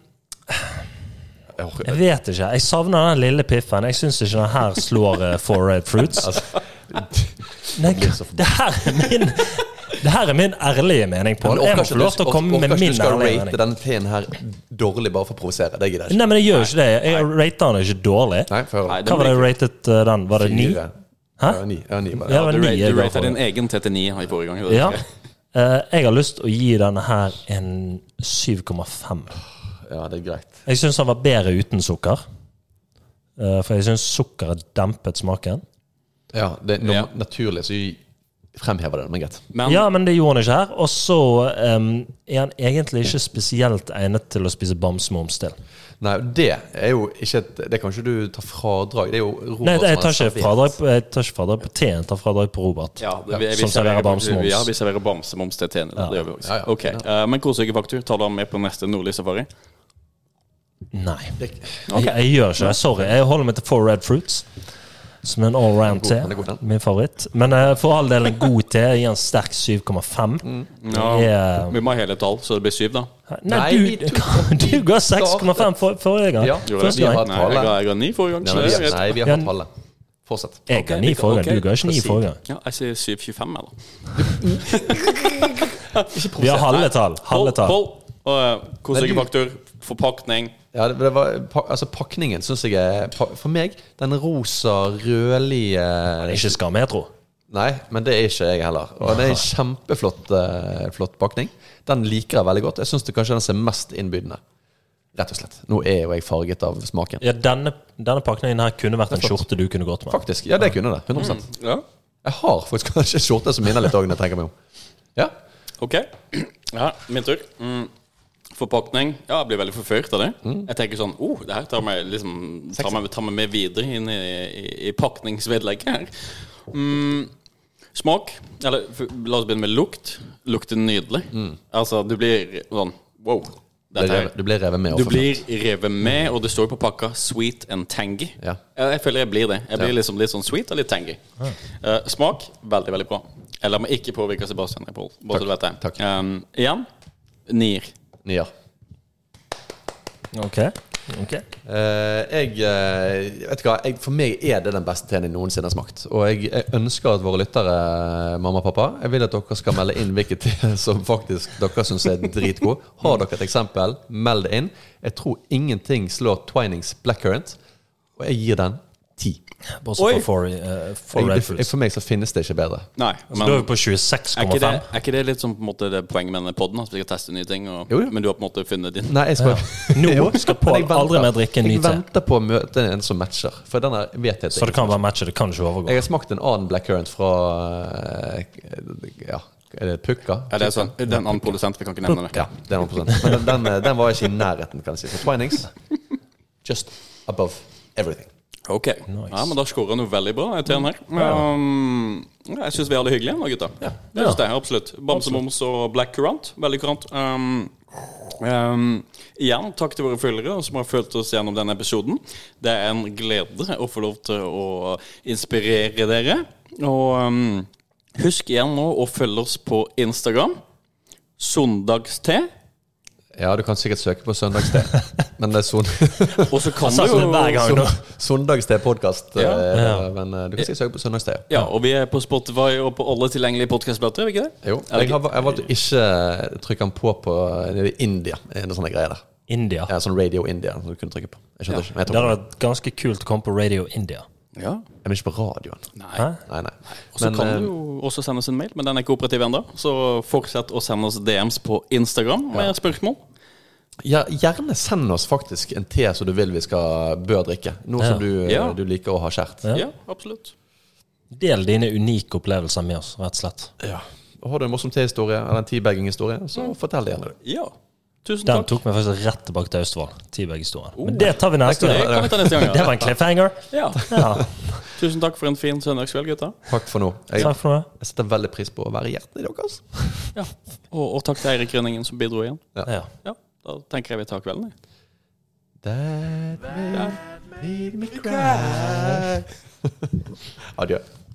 Jeg orker- <laughs> jeg vet ikke. Jeg savner den lille piffen. Jeg syns ikke den her slår uh, Four Red <laughs> Fruits. Altså, Nei, det her er min Det her er min ærlige mening, Pål. Men Jeg orker må ikke få lov til du- å komme orker med ikke min Du skal ærlige rate mening. denne teen her dårlig bare for å provosere. Det gidder jeg ikke. Nei, men jeg gjør ikke det. Jeg rater den ikke dårlig. Nei, for Nei, det- Hva var det jeg ratet eh, den? Var det ni? Fire. Hæ? Ja, ni. Ja, ni bare. Ja, det var Du, ni ra- jeg du ga ratet for din det. egen 39 i forrige gang. Ja. Eh, jeg har lyst til å gi denne her en 7,5. ja, det er greit. Jeg syns den var bedre uten sukker. Eh, for jeg syns sukkeret dempet smaken. Ja, det er Ja. nat- naturlig, så jeg fremhever det. Men greit. Men Ja, men det gjorde han ikke her. Og så eh, er han egentlig ikke spesielt egnet til å spise bamsemums til. Nei, det er jo ikke et Det kan ikke du ta fradrag. Det er jo Robert Nei, jeg som tar har ikke fradrag på, jeg tar ikke fradrag på T-en, jeg tar fradrag på Robert. Ja, det, vi, vi som serverer bamsemums. Ja, vi serverer bamsemums til TN. Det gjør vi også. Ja, ja. Ok, eh, Men kosehugefaktur tar du han med på neste nordlig safari? Nei, jeg, servert. jeg gjør ikke det. Sorry. Jeg holder meg til Four Red Fruits, som er en allround te. den er god, den. Min favoritt. Men eh, for all del en god te. Jeg gir en sterk 7,5. Mm. Det er- Vi må ha hele tall, så det blir syv, da. Nei, Nei, vi du, tok- <laughs> du ga 6,5 for, forrige gang. Ja, Gjorde jeg? Første gang. vi Nei, har tallet. jeg ga, jeg ga ni forrige gang. Nei, Så men det er vi, greit. nei, vi har Ja. hatt tallet. Fortsett. Jeg ga 9 forrige gang. Du ga ikke 9 Precis. forrige gang. Ja, jeg sier 725, eller? Vi har halve tall. Halve tall. Pål, kosehugefaktor, forpakning Ja, det, det var, pa- altså, pakningen syns jeg er pa- For meg, den rosa, rødlige Ikke skam, jeg tror. Nei, men det er ikke jeg heller. Og det er en kjempeflott eh, flott pakning. Den liker jeg veldig godt. Jeg syns kanskje den ser mest innbydende. Rett og slett. Nå er jo jeg farget av smaken. Ja, denne, denne pakningen her kunne vært en skjorte du kunne gått med. Faktisk. Ja, det kunne det. 100 Ja, Jeg har faktisk kanskje en skjorte som minner litt òg, når jeg tenker meg om. Ja. ok. Ja, min tur. Mm. Forpakning. Ja, jeg blir veldig forført av det. Jeg tenker sånn oh, det her tar meg, liksom, tar meg, tar meg med videre inn i, i, i pakningsvedlegget her. Mm. Smak. Eller f- la oss begynne med lukt. Lukter nydelig. Altså, du blir sånn wow. Du Dette blir her revet- Du blir revet med. Du overfor blir revet med, og det står på pakka 'sweet and tangy'. Ja. Jeg, jeg føler jeg blir det. Jeg blir Ja. liksom litt sånn sweet og litt tangy. Eh, smak veldig, veldig bra. Jeg lar meg ikke påvirke av Sebastian. Leopold, Bare så du vet det. Takk. Um, igjen Nier. Nier. Ok. ok. Eh, jeg, eh, vet du hva, jeg, for meg er det den beste teen jeg noensinne har smakt. Og jeg, jeg ønsker at våre lyttere, eh, mamma og pappa, jeg vil at dere skal melde inn <laughs> hvilket te som faktisk dere syns er dritgod. Har dere et eksempel, meld det inn. Jeg tror ingenting slår Twinings Blackcurrant, og jeg gir den ti. Bortsett fra for, eh, for Jeg, Red jeg, Foods. for meg så finnes det ikke bedre. Nei, Så men da Altså, er vi på er ikke, det, 26,5. er ikke det litt sånn på en måte det poenget med denne podden? At vi skal teste nye ting? Og, Jo, jo. Men du har på en måte funnet din? Nei, jeg skal Nå <laughs> Jo, skal men Pål jeg venter- aldri mer drikke en ny Jeg te. venter på å møte en som matcher, for den her vet jeg Så ikke. det kan være matchet. Det kan ikke overgå. Jeg har smakt en annen blackcurrant fra eh, Ja, er det Pukka? Er det sånn? Den annen produsent, vi kan ikke nevne det. Ja, det er noen prosent. Men den, den, eh, den var ikke i nærheten, kan jeg si. Så Twinings just above everything. Ok. Ja, men da scorer han jo veldig bra, jeg teen her. Um, ja, jeg syns vi har det hyggelig nå, gutta. Ja, det synes jeg, absolutt. Bamsemums og Black Currant. Veldig kurant. Um, Um, igjen takk til våre følgere som har fulgt oss gjennom denne episoden. Det er en glede å få lov til å inspirere dere. Og um, husk igjen nå å følge oss på Instagram. Søndagste. Ja, du kan sikkert søke på <laughs> søndagste, men det er son Og så kan sa du sånn jo hver gang. son Søndagste-podkast. Ja. Men eh, du kan sikkert søke på søndagste. Ja. Ja, og vi er på Spotify og på alle tilgjengelige podkastplasser, er vi ikke det? Jo, Er det jeg har va- jeg har valgt å ikke eh, trykke den på på eh, nede i India. En sånn greie der. India. Ja, sånn Radio India som du kunne trykke på. Jeg skjønner ikke. men Jeg, Det hadde tror, vært ganske kult å komme på Radio India. ikke- Ja. jeg vil ikke på radioen. Nei. Hæ? Nei, nei. Og så Men, kan eh, du jo også sende oss en mail, men den er ikke operativ ennå. Så fortsett å sende oss DMs på Instagram med spørsmål. Ja, gjerne send oss faktisk en te som du vil vi skal bør drikke. Noe Ja. som du, Ja. du liker å ha kjært. Ja. Ja, absolutt. Del dine unike opplevelser med oss, rett og slett. Ja. Og har du en morsom tehistorie eller en tebagging-historie, så fortell det gjerne. Ja. Tusen Den takk. tok meg faktisk rett tilbake til Austevoll. Tiberg-historien. Men det tar vi neste Det gang. kan vi ta neste gang. Det Ja. var en cliffhanger. Ja. Ja. Tusen takk for en fin søndagskveld, gutta. Takk for nå. Jeg, Takk for nå. jeg setter veldig pris på å være hjertet i altså. deres. Ja. Og, og takk til Eirik Rønningen som bidro igjen. Ja. Ja, Da tenker jeg vi tar kvelden, jeg. That made me cry. <laughs> Adjø.